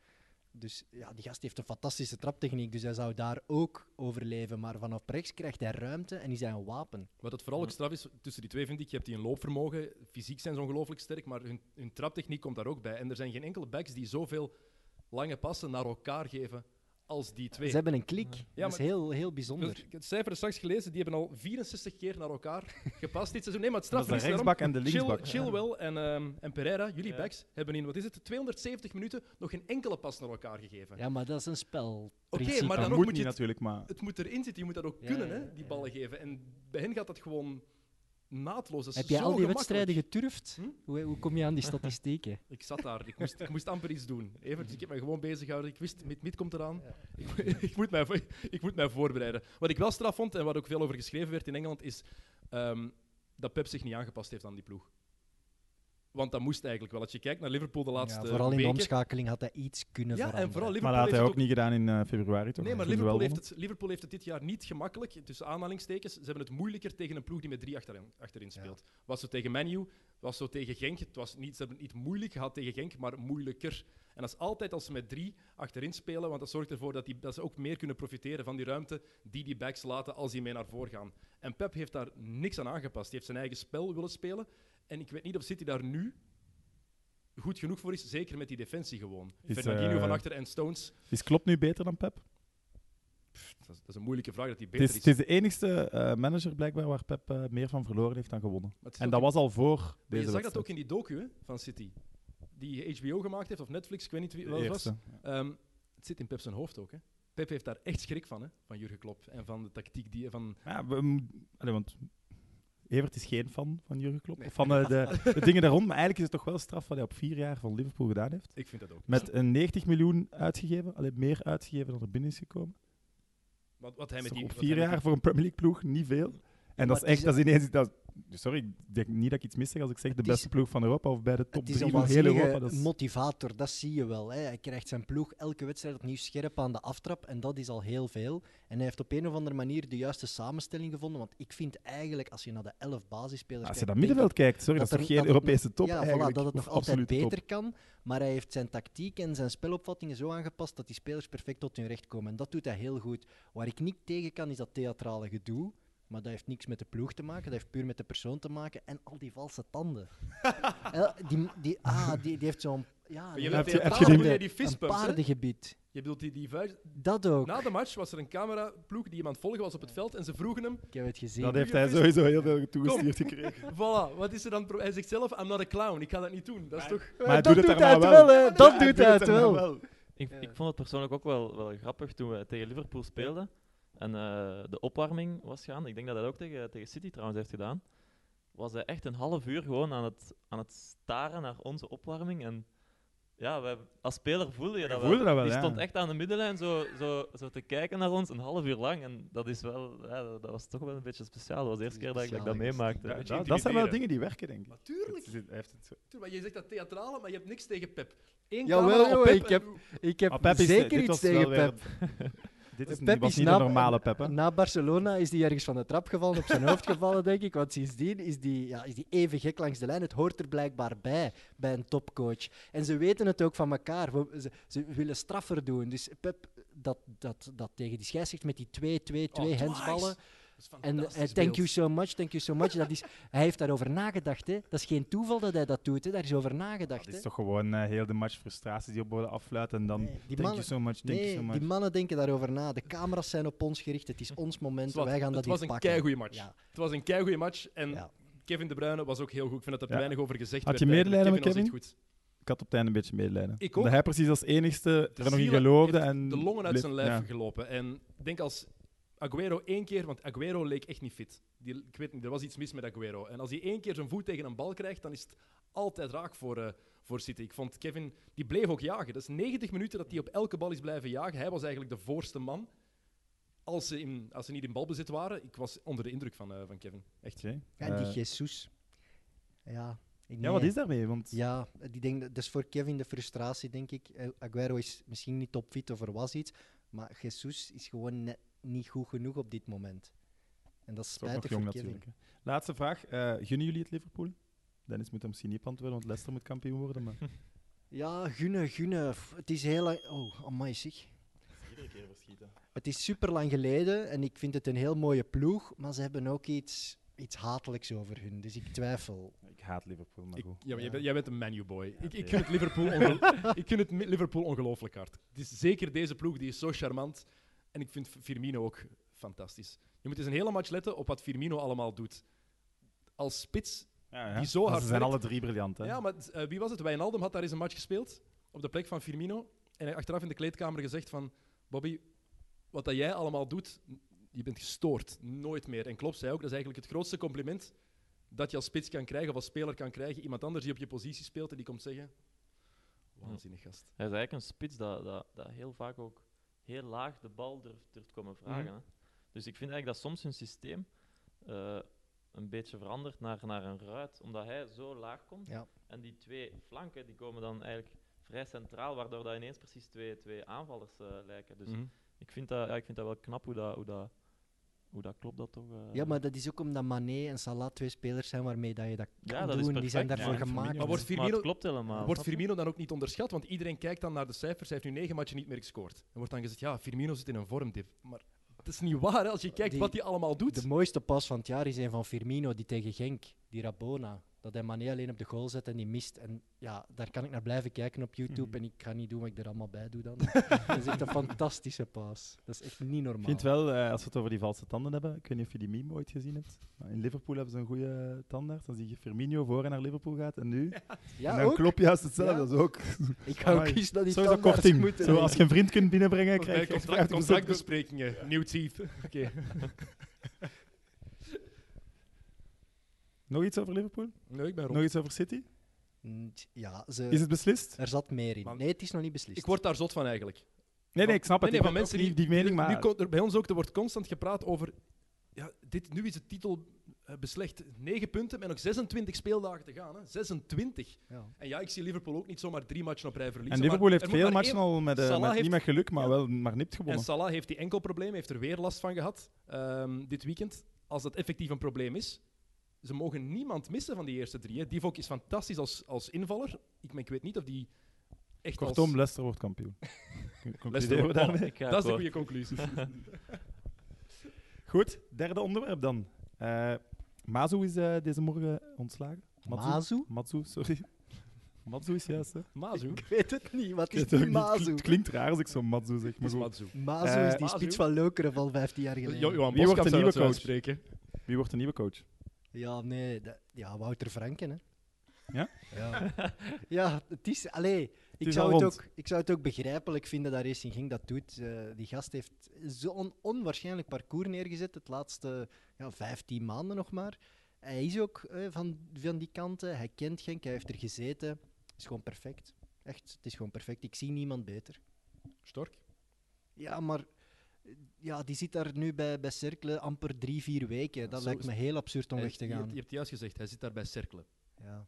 Dus ja, die gast heeft een fantastische traptechniek, dus hij zou daar ook overleven. Maar vanaf rechts krijgt hij ruimte en is hij een wapen.
Wat het vooral ook
Ja.
straf is, tussen die twee vind ik, je hebt die een loopvermogen, fysiek zijn ze ongelooflijk sterk, maar hun, hun traptechniek komt daar ook bij. En er zijn geen enkele backs die zoveel lange passen naar elkaar geven als die twee.
Ze hebben een klik.
Ja,
dat is
maar-
heel, heel
Dus
bijzonder.
ik heb het cijfer er straks gelezen, die hebben al 64 keer naar elkaar gepast dit seizoen. Nee, maar het
Dat is
straf
de
is daarom,
rechtsbak en de
Chil-
linksbak.
Chilwell en, ehm, en Pereira, jullie
Ja.
backs, hebben in, wat is het, 270 minuten nog geen enkele pas naar elkaar gegeven.
Ja, maar dat is een spel.
maar
dat
dan ook
moet
moet
niet
je het-
natuurlijk, maar...
Het moet erin zitten, je moet dat ook
Ja,
kunnen,
ja,
hè, die
ja.
ballen geven. En bij hen gaat dat gewoon naadloos. Dat is
Heb jij
zo
al die
gemakkelijk.
wedstrijden geturfd?
Hm?
Hoe, hoe kom je aan die statistieken?
Ik zat daar, ik moest, ik moest amper iets doen. Evert, ik heb me gewoon bezig gehouden. Ik wist, mid, mid komt eraan.
Ja.
Ik, mo- ik, moet mij, vo- ik moet mij voorbereiden. Wat ik wel straf vond en waar ook veel over geschreven werd in Engeland, is ehm, dat Pep zich niet aangepast heeft aan die ploeg. Want dat moest eigenlijk wel. Als je kijkt naar Liverpool de laatste
Ja, vooral in de
weken-
omschakeling had hij iets kunnen
Ja,
veranderen.
en vooral
Maar
Liverpool
dat had
heeft
hij
het
ook niet gedaan in eh, februari, toch?
Nee, maar
Toen ze wel
Liverpool heeft,
wonnen.
het, Liverpool heeft het dit jaar niet gemakkelijk, tussen aanhalingstekens. Ze hebben het moeilijker tegen een ploeg die met drie achterin, achterin
Ja.
speelt. Was zo tegen Man U, was zo tegen Genk. Het was niet, ze hebben het niet moeilijk gehad tegen Genk, maar moeilijker. En dat is altijd als ze met drie achterin spelen, want dat zorgt ervoor dat, die, dat ze ook meer kunnen profiteren van die ruimte die die backs laten als die mee naar voren gaan. En Pep heeft daar niks aan aangepast. Hij heeft zijn eigen spel willen spelen. En ik weet niet of City daar nu goed genoeg voor is, zeker met die defensie gewoon.
Is,
Fernandinho
eh,
van achter en Stones.
Is Klopp nu beter dan Pep?
Dus Dat is, dat is een moeilijke vraag dat die
Het
beter
is, het is de enigste eh, manager blijkbaar waar Pep eh, meer van verloren heeft dan gewonnen.
Maar het is
En
ook
dat
een-
was al voor
maar
deze
je zag dat
wedstrijd.
ook in die docu hè, van City. Die HBO gemaakt heeft, of Netflix, ik weet niet wie
De
wat het was.
eerste.
Ehm, het zit in Pep zijn hoofd ook. Hè. Pep heeft daar echt schrik van, hè, van Jurgen Klopp. En van de tactiek die... Van,
Ja, we, m- allee, want Evert is geen fan van Jurgen Klopp.
Nee.
of Van eh, de, de dingen daar rond. Maar eigenlijk is het toch wel straf wat hij op vier jaar van Liverpool gedaan heeft.
ik vind dat ook.
Met een 90 miljoen uitgegeven. Alleen meer uitgegeven dan er binnen is gekomen.
Wat, wat hij met
Dat is toch
die,
op
wat
vier
hij met
jaar voor een Premier League ploeg niet veel. En
maar
dat is
het is-
echt, dat is ineens dat is sorry, ik denk niet dat ik iets mis zeg als ik zeg de
Het is-
beste ploeg van Europa of bij de top
Het is
drie
een
van heel Europa.
waanzinnige
Dat is-
motivator, dat zie je wel. Hè. Hij krijgt zijn ploeg elke wedstrijd opnieuw scherp aan de aftrap en dat is al heel veel. En hij heeft op een of andere manier de juiste samenstelling gevonden, want ik vind eigenlijk, als je naar de elf basisspelers
Ah, als je
kijkt,
naar
denk ik
middenveld kijkt, sorry, dat is toch
er-
geen
het
Europese
nog-
top
ja, voilà,
eigenlijk?
dat het nog
Of
altijd
absolute top.
beter kan. Maar hij heeft zijn tactiek en zijn spelopvattingen zo aangepast dat die spelers perfect tot hun recht komen. En dat doet hij heel goed. Waar ik niet tegen kan, is dat theatrale gedoe. Maar dat heeft niks met de ploeg te maken, dat heeft puur met de persoon te maken en al die valse tanden. Eh, die, die, ah, die, die heeft zo'n. Ja,
Maar je
hebt- heb je
een
die-
bedoel je die
een
fistbumps, hè?
paardengebied.
Je bedoelt die, die vuist...
Dat ook.
Nou,
Na de match was er een cameraploeg die iemand volgen was op het veld en ze vroegen hem...
Ik heb het gezien.
Dat heeft hij sowieso heel veel toegestuurd gekregen.
Voilà, wat is er dan... pro- Hij zegt zelf, I'm not a clown, ik ga dat niet doen. Dat is toch...
Maar hij
dat
doet het
doet hij
daarna wel.
het wel, hè? Dat
Ja,
doet hij het
daarna
wel.
Ik,
Ja.
ik vond het persoonlijk ook wel, wel grappig toen we tegen Liverpool speelden en eh, de opwarming was gaan. Ik denk dat hij dat ook tegen, tegen City trouwens heeft gedaan. Was hij echt een half uur gewoon aan het, aan het staren naar onze opwarming. En ja, wij, als speler voelde je dat
voelde dat wel,
Die
ja.
stond echt aan de middenlijn zo, zo, zo te kijken naar ons een half uur lang. En dat is wel, ja, dat dat was toch wel een beetje speciaal. Dat was de eerste keer dat ik dat, ik dat
Speciaal,
meemaakte.
ja.
Dat-
Beetje
dat- Dat zijn wel
intimideren.
dingen die werken, denk ik.
Natuurlijk.
Het is- hij heeft het zo-
Maar je zegt dat theatrale, maar je hebt niks tegen Pep. Eén
Jawel,
camera op
jongen,
Pep
ik
en
heb-
hoe-
Ik heb
Maar Oh, Pep is-
zeker
dit
iets
was wel
tegen
weer-
Pep.
Dit is,
Pep
was
is
niet
na-
de normale Pep, hè?
Na Barcelona is die ergens van de trap gevallen, op zijn hoofd gevallen, denk ik. Want sindsdien is die, ja, is die even gek langs de lijn. Het hoort er blijkbaar bij, bij een topcoach. En ze weten het ook van elkaar. We- ze, ze willen straffer doen. Dus Pep, dat, dat, dat tegen die scheidsrechter met die 2-2-2
Oh, twice.
handsballen.
Dat is
En eh,
fantastisch
thank
beeld.
you so much, thank you so much. Dat is, hij heeft daarover nagedacht. Hè. Dat is geen toeval dat hij dat doet. Hè. Daar is over nagedacht.
Het is
hè.
toch gewoon eh, heel de match frustraties die op worden afluit en dan
Nee, die
thank you
mannen-
so much, thank
Nee,
you so much.
die mannen denken daarover na. De camera's zijn op ons gericht. Het is ons moment.
Zwart,
wij gaan dat
het was
hier
een
pakken.
keigoede match.
Ja.
Het was een keigoede match en
Ja.
Kevin De Bruyne was ook heel goed. Ik vind dat er te
Ja.
weinig over gezegd
Had
werd. eh,
je medelijden
eigenlijk.
met
was echt
Ik had op het einde een beetje medelijden.
Ik ook.
Omdat hij precies als enigste
De
er nog in
zielen
geloofde.
heeft
En
goed. De longen uit
bleef-
zijn lijf
ja.
gelopen. En ik denk als Aguero één keer... Want Aguero leek echt niet fit. Die, ik weet niet, er was iets mis met Aguero. En als hij één keer zijn voet tegen een bal krijgt, dan is het altijd raak voor, eh, voor City. Ik vond Kevin... Die bleef ook jagen. Dat is 90 minuten dat hij op elke bal is blijven jagen. Hij was eigenlijk de voorste man. Als ze, in, als ze niet in balbezit waren, ik was onder de indruk van, eh, van Kevin. Echt.
Oké.
Ja, en die
Eh,
Jesus. Ja, ik
ja, wat is daarmee? Want
Ja, die denk, dat is voor Kevin de frustratie, denk ik. Eh, Aguero is misschien niet topfit of er was iets, maar Jesus is gewoon net niet goed genoeg op dit moment. En dat is
Het is ook
spijtig
nog
voor
jong
Kevin.
natuurlijk. hè. Laatste vraag. eh, gunnen jullie het Liverpool? Dennis moet hem misschien niet op antwoorden, want Leicester moet kampioen worden. Maar...
Ja, gunnen, gunnen. F- Het is heel lang... Oh, amai zeg.
Iedere keer verschieten.
Het is super lang geleden en ik vind het een heel mooie ploeg, maar ze hebben ook iets, iets hatelijks over hun, dus ik twijfel.
Ik haat Liverpool, maar
Ik,
goed.
ja, maar jij,
Ja.
bent, jij bent een menu boy. ik, ik,
oké.
gun het Liverpool ongel- ik gun het Mi- Liverpool ongelooflijk hard. Het is zeker deze ploeg, die is zo charmant. En ik vind Firmino ook fantastisch. Je moet eens een hele match letten op wat Firmino allemaal doet. Als spits.
Ja, ja.
Die zo
Maar
hard
Ze zijn
werkt.
alle drie briljant. Hè?
Ja, maar eh, wie was het? Wijnaldum had daar eens een match gespeeld. Op de plek van Firmino. En hij achteraf in de kleedkamer gezegd van... Bobby, wat dat jij allemaal doet, n- je bent gestoord. Nooit meer. En klopt, zei ook, dat is eigenlijk het grootste compliment dat je als spits kan krijgen of als speler kan krijgen. Iemand anders die op je positie speelt en die komt zeggen... Waanzinnig gast.
Hij is eigenlijk een spits dat, dat, dat heel vaak ook heel laag de bal durft, durft komen vragen.
Mhm.
hè. Dus ik vind eigenlijk dat soms hun systeem eh, een beetje verandert naar, naar een ruit, omdat hij zo laag komt.
Ja.
En die twee flanken die komen dan eigenlijk vrij centraal, waardoor dat ineens precies twee, twee aanvallers eh, lijken.
Mhm.
Dus
Mhm.
ik, vind dat, ja, ik vind dat wel knap hoe dat, hoe dat, hoe dat klopt, dat toch? eh.
Ja, maar dat is ook omdat Mané en Salah twee spelers zijn waarmee dat je dat kan
Ja, dat is
doen. Die zijn
perfect,
daarvoor
ja.
gemaakt.
Maar wordt
Maar
Firmino-
het klopt helemaal.
Wordt
snap je?
Firmino dan ook niet onderschat? Want iedereen kijkt dan naar de cijfers. Hij heeft nu negen matchen niet meer gescoord. En wordt dan gezegd, ja, Firmino zit in een vormdip. Maar dat is niet waar, hè, als je kijkt
Die-
wat hij allemaal doet.
De mooiste pas van het jaar is een van Firmino die tegen Genk, die Rabona. Dat hij Mané alleen op de goal zet en die mist. En ja, daar kan ik naar blijven kijken op YouTube.
Mhm.
En ik ga niet doen wat ik er allemaal bij doe dan. dat is echt een fantastische pas. Dat is echt niet normaal.
Ik vind wel, eh, als we het over die valse tanden hebben, ik weet niet of je die meme ooit gezien hebt. Maar in Liverpool hebben ze een goede tandarts. Dan zie je Firmino voor en naar Liverpool gaat en nu. en
ja,
dan
ook.
klopt juist hetzelfde.
Ja.
Dat is ook
Ik ga ook
Amai.
eens naar die
sowieso
tandarts
korting.
moeten.
Zo, als je een vriend kunt binnenbrengen,
Bij
krijg je
contract-
50%
contractbesprekingen. New teeth. Oké.
Nog iets over Liverpool?
Nee, ik ben
Nog iets over City?
Mm, t- Ja, ze,
Is het beslist?
er zat meer in.
Maar-
Nee, het is nog niet beslist.
Ik word daar zot van eigenlijk.
Nee, nee, ik snap het.
Nee, nee, van
Ik ben
mensen
ook niet die mening, maar...
Nu komt er bij ons ook, er wordt constant gepraat over... Ja, dit, nu is het titel eh, beslecht 9 punten met nog 26 speeldagen te gaan. Hè. 26.
Ja.
En ja, ik zie Liverpool ook niet zomaar drie matchen op rij verliezen.
En
maar er
Liverpool heeft
moet
veel
maar
matchen
één-
al met, eh,
Salah
met-
heeft-
niet met geluk, maar
ja.
wel maar nipt gewonnen.
En Salah heeft die enkel probleem, heeft er weer last van gehad ehm, dit weekend. Als dat effectief een probleem is, ze mogen niemand missen van die eerste drie. Hè. Divock is fantastisch als, als invaller. Ik, ik weet niet of die echt als-
Kortom, Leicester wordt kampioen. Concluderen we
wordt-
daarmee?
Ik ga
Dat is de
akkoord.
goede conclusie.
Goed, derde onderwerp dan. Eh Mazu is eh, deze morgen ontslagen.
Mazu?
Matsu, sorry. Matsu is juist, hè?
Mazu.
Ik weet het niet. Wat is
Het is ook
die
niet- het
Mazu?
klinkt- het klinkt raar als ik zo Matsu zeg. Maar
Is
goed.
Mazu.
Mazu
Eh,
is die
Mazu?
spits van Leukeren van 15 jaar geleden.
Jo- Johan
Wie wordt
Boskamp zou
de nieuwe
dat zo
coach?
uitspreken.
Wie wordt de nieuwe coach?
Ja, nee. dat- ja, Wouter Franken, hè.
Ja?
Ja, ja het is... Allee, ik,
is
zou
al
het
rond.
ook, ik zou het ook begrijpelijk vinden dat Racing Ging dat doet. Eh, die gast heeft zo'n onwaarschijnlijk parcours neergezet, het laatste ja, 15 maanden nog maar. Hij is ook eh, van, van die kanten, hij kent Genk, hij heeft er gezeten. Het is gewoon perfect. Echt, het is gewoon perfect. Ik zie niemand beter.
Stork.
Ja, maar eh, ja, die zit daar nu bij, bij Cercle amper drie, vier weken. Dat
zo
lijkt
is
me heel absurd om
Hij-
weg te
Eh, je
gaan.
hebt- Je, hebt juist gezegd, hij zit daar bij cirkelen.
Ja.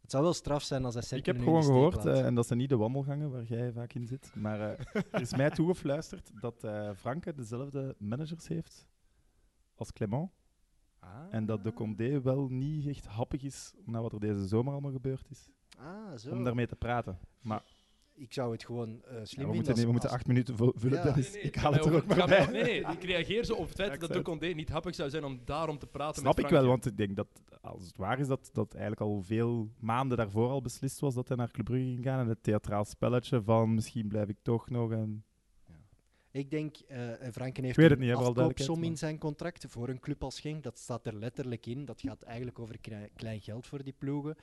Het zou wel straf zijn als hij
Ik
Cercle
heb
nu in
gewoon
de steek
gehoord,
laat.
eh, en dat zijn niet de wandelgangen waar jij vaak in zit, maar eh, er is mij toegefluisterd dat eh Franke dezelfde managers heeft als Clement.
Ah.
En dat de Condé wel niet echt happig is na wat er deze zomer allemaal gebeurd is.
ah, zo.
Om daarmee te praten. Maar
Ik zou het gewoon eh
ja,
slim
we, moeten, nee,
vinden.
we
als-
moeten
als-
acht minuten vu- vullen,
Ja.
Dennis.
Nee, nee,
dus ik haal het
gaat
er
mij
ook maar
gaat
bij.
mij- Nee, nee, ik reageer zo op het feit
Ja, ik
dat
zei
de
het.
Condé niet happig zou zijn om daarom te praten
Snap
met
ik wel,
Frankie.
want ik denk dat als het waar is dat dat eigenlijk al veel maanden daarvoor al beslist was dat hij naar Club Brugge ging gaan en het theatraal spelletje van misschien blijf ik toch nog en
Ik denk, eh, en Franken heeft
Ik weet het
een
niet, hè, voor alle
afkoopsom
duidelijkheid,
in zijn contract voor een club als Genk. Dat staat er letterlijk in. Dat gaat eigenlijk over krei- klein geld voor die ploegen.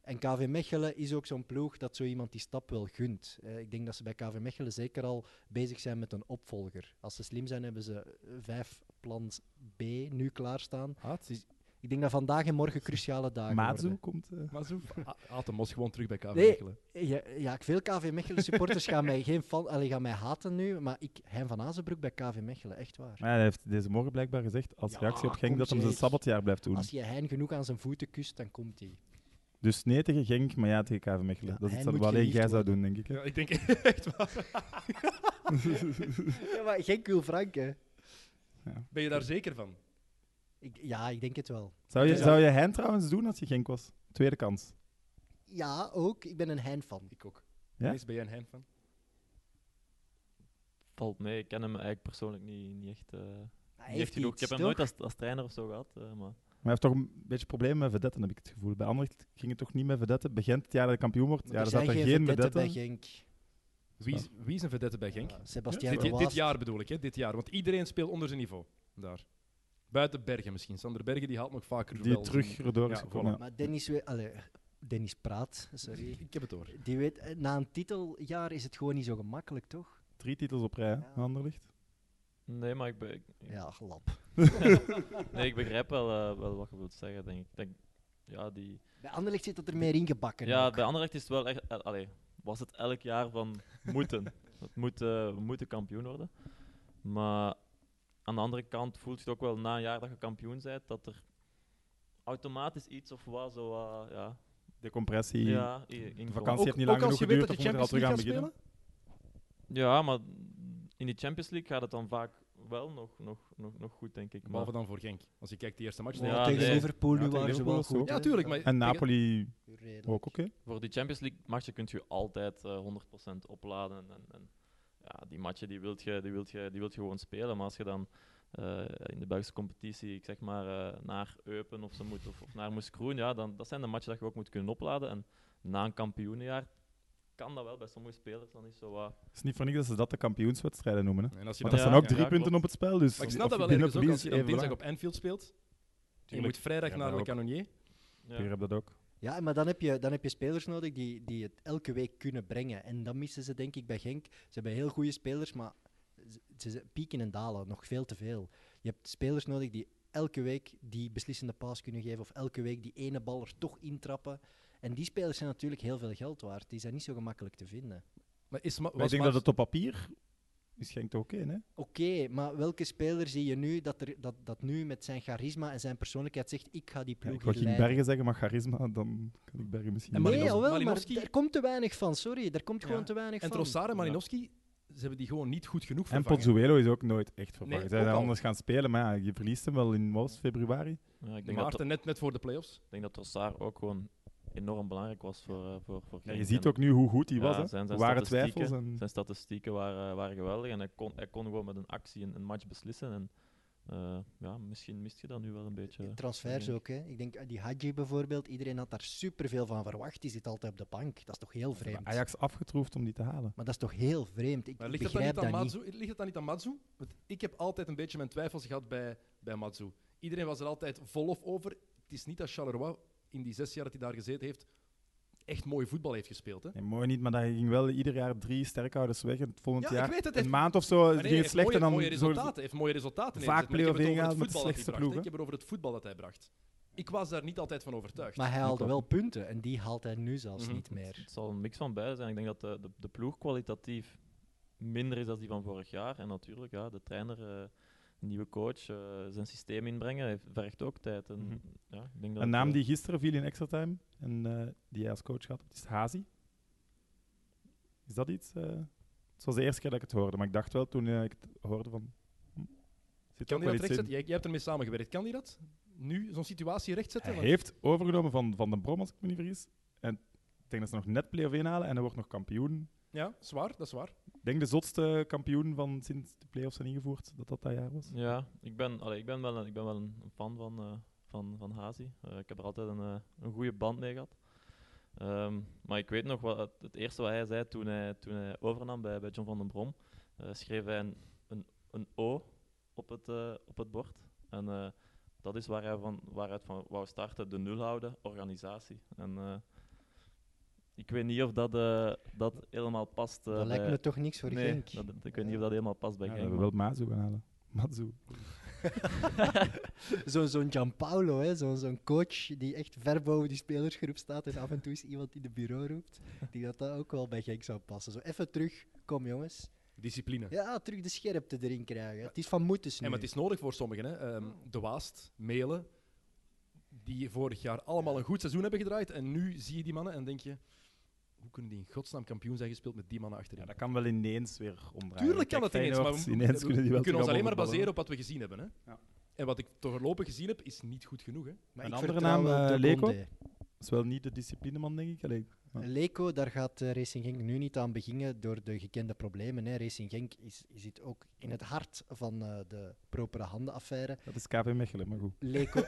En KV Mechelen is ook zo'n ploeg dat zo iemand die stap wel gunt. Eh, ik denk dat ze bij KV Mechelen zeker al bezig zijn met een opvolger. Als ze slim zijn, hebben ze eh, vijf plans B nu klaarstaan.
Ah,
Dus ik denk dat vandaag en morgen cruciale dagen
Maatzo
worden.
komt. eh,
Mazu. A- Aad de Mos gewoon terug bij KV
Nee.
Mechelen.
Ja, ja, ik- veel KV Mechelen supporters gaan mij, geen fan, allee, gaan mij haten nu. Maar ik, Hein van Azenbroek bij KV Mechelen, echt waar.
Maar hij heeft deze morgen blijkbaar gezegd als
Ja,
reactie op Genk
kom
dat hem zijn
zeg.
sabbatjaar blijft doen.
Als je Hein genoeg aan zijn voeten kust, dan komt hij.
Dus nee tegen Genk, maar ja tegen KV Mechelen.
Ja,
dat is
hij
iets wat
moet
alleen jij
geliefd
zou doen, denk ik. hè.
Ja, ik denk echt waar.
Ja, maar Genk wil Frank, hè?
Ben je daar zeker van?
Ik, ja, ik denk het wel.
Zou je,
Ja.
zou je hen trouwens doen als je Genk was? Tweede kans.
Ja, ook. Ik ben een Hein-fan.
Ik ook.
Ja?
Dennis, ben jij een hein van?
Valt mee, ik ken hem eigenlijk persoonlijk niet, niet echt. eh, niet
Hij
echt
heeft
genoeg. Ik
iets,
heb hem
toch?
nooit als, als trainer of zo gehad. eh, maar
Maar hij heeft toch een beetje problemen met vedetten, heb ik het gevoel. Bij Anderlecht ging het toch niet met vedetten. Begint het jaar dat hij kampioen wordt,
Maar
ja,
er
dan zat
zijn
er
geen
geen
vedetten,
vedetten.
bij Genk.
Wie is, wie is een vedette bij Genk?
Ja, Sebastian
Dit, dit
Verwaas.
jaar bedoel ik, hè? Dit jaar. Want iedereen speelt onder zijn niveau. Daar. Buiten Bergen misschien. Sander Bergen die haalt nog vaker
die
wel
terug
zijn-
erdoor is
Ja,
gekomen.
voilà.
ja.
Maar Dennis, we, allee, Dennis praat, sorry.
Ik heb het door.
Die weet, eh, na een titeljaar is het gewoon niet zo gemakkelijk, toch?
Drie titels op rij,
Ja.
ja. Anderlicht.
nee, maar ik, be- ik-
Ja, lap.
nee, ik begrijp wel, eh, wel wat je wilt zeggen, denk ik. Ik Denk, ja, die,
Bij Anderlecht zit dat er meer ingebakken.
ja,
ook.
bij Anderlecht is het wel echt. eh, allee, was het elk jaar van moeten. het moet, eh, we moeten kampioen worden. Maar aan de andere kant voelt je ook wel na een jaar dat je kampioen bent dat er automatisch iets of wat zo. eh, ja,
De compressie.
ja, i- inkomt.
vakantie. heeft niet lang
als
genoeg
je weet dat je
geduurd, dan
Champions
moeten we
League
er
gaat
al terug aan
spelen?
Ja, maar in die Champions League gaat het dan vaak wel nog, nog, nog, nog goed, denk ik. Maar
Behalve dan voor Genk. Als je kijkt die eerste match.
Maar
Ja,
tegen
nee.
Liverpool
Ja,
nu
tegen
waren ze
Liverpool
wel
was het
goed.
ook.
hè?
Ja, tuurlijk. Maar
En
tegen-
Napoli
Redelijk.
ook, oké.
voor die Champions League matchen kun je altijd eh, 100% opladen. En, en ja, die matchen die wilt je, die wilt je, die wilt je gewoon spelen. Maar als je dan eh, in de Belgische competitie, ik zeg maar, eh, naar Eupen of, ze moet, of, of naar Moeskroen, ja, dan dat zijn de matchen dat je ook moet kunnen opladen. En na een kampioenenjaar kan dat wel bij sommige spelers dan niet zo wat.
Het is niet voor niks dat ze dat de kampioenswedstrijden noemen. Hè.
En als je
Want
dan-
dat zijn
Ja,
ook drie
ja,
punten
klopt.
op het spel. Dus
Maar ik
of-
snap
of
dat wel
je
ergens
binnen
ook.
of
Als je dan
verliest,
dinsdag
even
op Anfield speelt, en je
belangrijk.
moet vrijdag
Ja,
naar Le
daarop.
Canonier.
Ik
Ja.
heb dat ook.
Ja, maar dan heb je, dan heb je spelers nodig die, die het elke week kunnen brengen. En dat missen ze denk ik bij Genk. Ze hebben heel goede spelers, maar ze, ze- ze pieken en dalen nog veel te veel. Je hebt spelers nodig die elke week die beslissende paas kunnen geven of elke week die ene bal er toch intrappen. En die spelers zijn natuurlijk heel veel geld waard. Die zijn niet zo gemakkelijk te vinden.
Maar is Ma-
Maar ik
was
denk
Ma-
dat het op papier is Genk toch oké, hè?
Oké, maar welke speler zie je nu dat, er, dat, dat nu met zijn charisma en zijn persoonlijkheid zegt: ik ga die
Ja,
ploeg
ik wou geen
hier leiden.
bergen zeggen, maar charisma, dan kan ik bergen misschien...
En
niet.
Malinowski-
nee, jawel, maar
Malinowski-
er komt te weinig van. Sorry, er komt
Ja.
gewoon te weinig
En
van.
Trossard en Malinowski, ze hebben die gewoon niet goed genoeg
en
vervangen.
Pozzuelo is ook nooit echt vervangen.
Nee,
Zij zijn
ook al.
anders gaan spelen, maar ja, je verliest hem wel in maart, februari.
Ja, ik denk dat,
Maarten, net, net voor de playoffs.
ik denk dat Trossard ook gewoon enorm belangrijk was voor, eh, voor, voor
Ja,
Genk.
je ziet
En
ook nu hoe goed hij
Ja,
was. Hè.
zijn- zijn
Er waren
statistieken,
twijfels. En...
Zijn statistieken waren, eh, waren geweldig en hij kon, hij kon gewoon met een actie een, een match beslissen. En eh, ja, misschien mist je dat nu wel een beetje.
Transfers
denk
ook, hè. Ik denk, eh, die Hadji bijvoorbeeld, iedereen had daar superveel van verwacht. Die zit altijd op de bank. Dat is toch heel vreemd?
Ajax afgetroefd om die te halen.
Maar dat is toch heel vreemd? Ik
Maar
ik
ligt het, dan
begrijp
niet aan
dat niet.
Matsu? ligt het dan niet aan Matsu? Want ik heb altijd een beetje mijn twijfels gehad bij, bij Matsu. Iedereen was er altijd vol of over. Het is niet dat Charleroi in die zes jaar dat hij daar gezeten heeft echt mooi voetbal heeft gespeeld. Hè?
Nee, mooi niet, maar daar ging wel ieder jaar drie sterkhouders weg. En het volgend
Ja, ik
jaar,
weet het,
een
het-
maand of zo,
Maar nee,
ging het
heeft
slecht.
mooie,
en dan
mooie
zorgde-
resultaten, heeft mooie resultaten
Vaak
neergezet, maar ik heb
play-off
het over
ingehaald
het
met
voetbal dat hij
slechtste
bracht, hè.
ploegen.
Ik heb het over het voetbal dat hij bracht. Ik was daar niet altijd van overtuigd.
Maar hij haalde
ook.
wel punten en die haalt hij nu zelfs
Mhm.
niet meer.
Het zal een mix van beide zijn. Ik denk dat de, de, de ploeg kwalitatief minder is dan die van vorig jaar. En natuurlijk, ja, de trainer, eh, een nieuwe coach, eh, zijn systeem inbrengen, heeft, vergt ook tijd. En,
Mhm.
ja, ik denk dat
Een
het,
naam
eh,
die gisteren viel in extra time en eh, die jij als coach had, is Hazi. Is dat iets? eh, het was de eerste keer dat ik het hoorde, maar ik dacht wel toen eh, ik het hoorde van... hm, zit
Kan die
ook wel
dat
iets in.
rechtzetten? Jij, jij hebt ermee samengewerkt. Kan die dat? Nu zo'n situatie rechtzetten?
Hij
Want-
heeft overgenomen van, van de Brom, als ik me niet vergis. En ik denk dat ze nog net play-off inhalen en hij wordt nog kampioen.
Ja, zwaar, dat is waar.
Ik denk de zotste kampioen van sinds de play-offs zijn ingevoerd, dat dat dat jaar was.
Ja, ik ben, allee, ik ben wel een, ik ben wel een, een fan van, eh, van, van Hazi. Eh, ik heb er altijd een, eh, een goede band mee gehad. Ehm, maar ik weet nog wat het, het eerste wat hij zei toen hij, toen hij overnam bij, bij John van den Brom, eh, schreef hij een, een, een O op het, eh, op het bord. En eh, dat is waar hij van, waaruit van wou starten, de nul houden, organisatie. En eh, ik weet niet of dat, eh, dat helemaal past. eh,
dat lijkt
bij-
me toch niks voor
nee,
Genk.
dat- dat- ik weet niet of dat helemaal past bij
Ja, we
Genk.
hebben wel Mazu gaan halen. Mazu.
Zo- Zo'n Gianpaolo, hè, zo'n zo'n coach die echt ver boven die spelersgroep staat en af en toe eens iemand in de bureau roept, die dat dan ook wel bij Genk zou passen. Zo even terug, kom jongens.
Discipline.
Ja, terug de scherpte erin krijgen. Het is van moeten
En
nu.
maar het is nodig voor sommigen. Hè. Ehm, de Waast, Melen, die vorig jaar allemaal een goed seizoen hebben gedraaid. En nu zie je die mannen en denk je... Hoe kunnen die in godsnaam kampioen zijn gespeeld met die mannen achterin?
Ja, dat kan wel ineens weer omdraaien.
Tuurlijk kan
Kijk,
het ineens, maar
Feyenoord,
we,
ineens kunnen die wel
kunnen ons
terug
alleen maar
allemaal
baseren
voetballen.
op wat we gezien hebben. Hè.
Ja.
En wat ik toch voorlopig gezien heb, is niet goed genoeg. Hè.
Maar
Een
ik
andere
vertrouw
naam,
wel
eh,
de
Leko?
Condé.
Dat is wel niet de disciplineman, denk ik. Allee, Ja.
Leko, daar gaat eh, Racing Genk nu niet aan beginnen door de gekende problemen. Hè. Racing Genk is, zit ook in het hart van eh, de propere handenaffaire.
dat is KV Mechelen, maar goed.
Leko,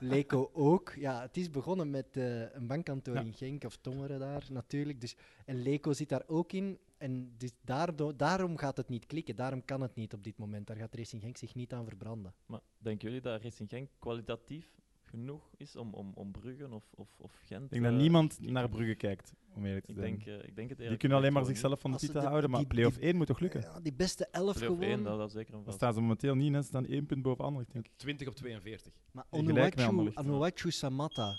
Leko ook. Ja, het is begonnen met eh, een bankkantoor
Ja.
in Genk of Tongeren daar natuurlijk. Dus, en Leko zit daar ook in. En dus daardoor, daarom gaat het niet klikken. Daarom kan het niet op dit moment. Daar gaat Racing Genk zich niet aan verbranden.
Maar denken jullie dat Racing Genk kwalitatief genoeg is om, om, om Bruggen of, of, of Gent?
Ik denk dat niemand naar Brugge kijkt, om eerlijk te
Eh, Ik
zijn.
denk, eh, ik denk het
die
eerlijk
kunnen alleen maar
gezegd gewoon
zichzelf van de
Als ze
titel
de-
houden, maar
die-
play-off
die-
1 moet toch lukken?
Ja, die beste
niet.
elf
Play-off één,
gewoon.
dat, dat zeker een
Dan
vast.
staan ze momenteel niet, hè. ze staan één punt boven Anderlecht, denk ik.
20 op 42.
Maar
Die gelijk met
Onuwachu,
Anderlecht, ja.
Onuwachu Samatta.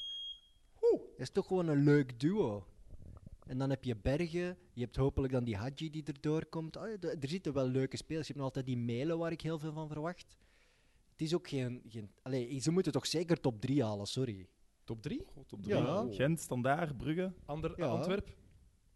Dat is toch gewoon een leuk duo. En dan heb je Bergen, je hebt hopelijk dan die Hadji die erdoor komt. Ah, d- er zitten wel leuke spelers. Je hebt nog altijd die Melen waar ik heel veel van verwacht. Het is ook geen... geen allee, ze moeten toch zeker top 3 halen, sorry.
Top 3?
Top
drie. Ja.
Oh.
Gent, Standaard, Brugge.
Ander,
Ja.
Antwerp.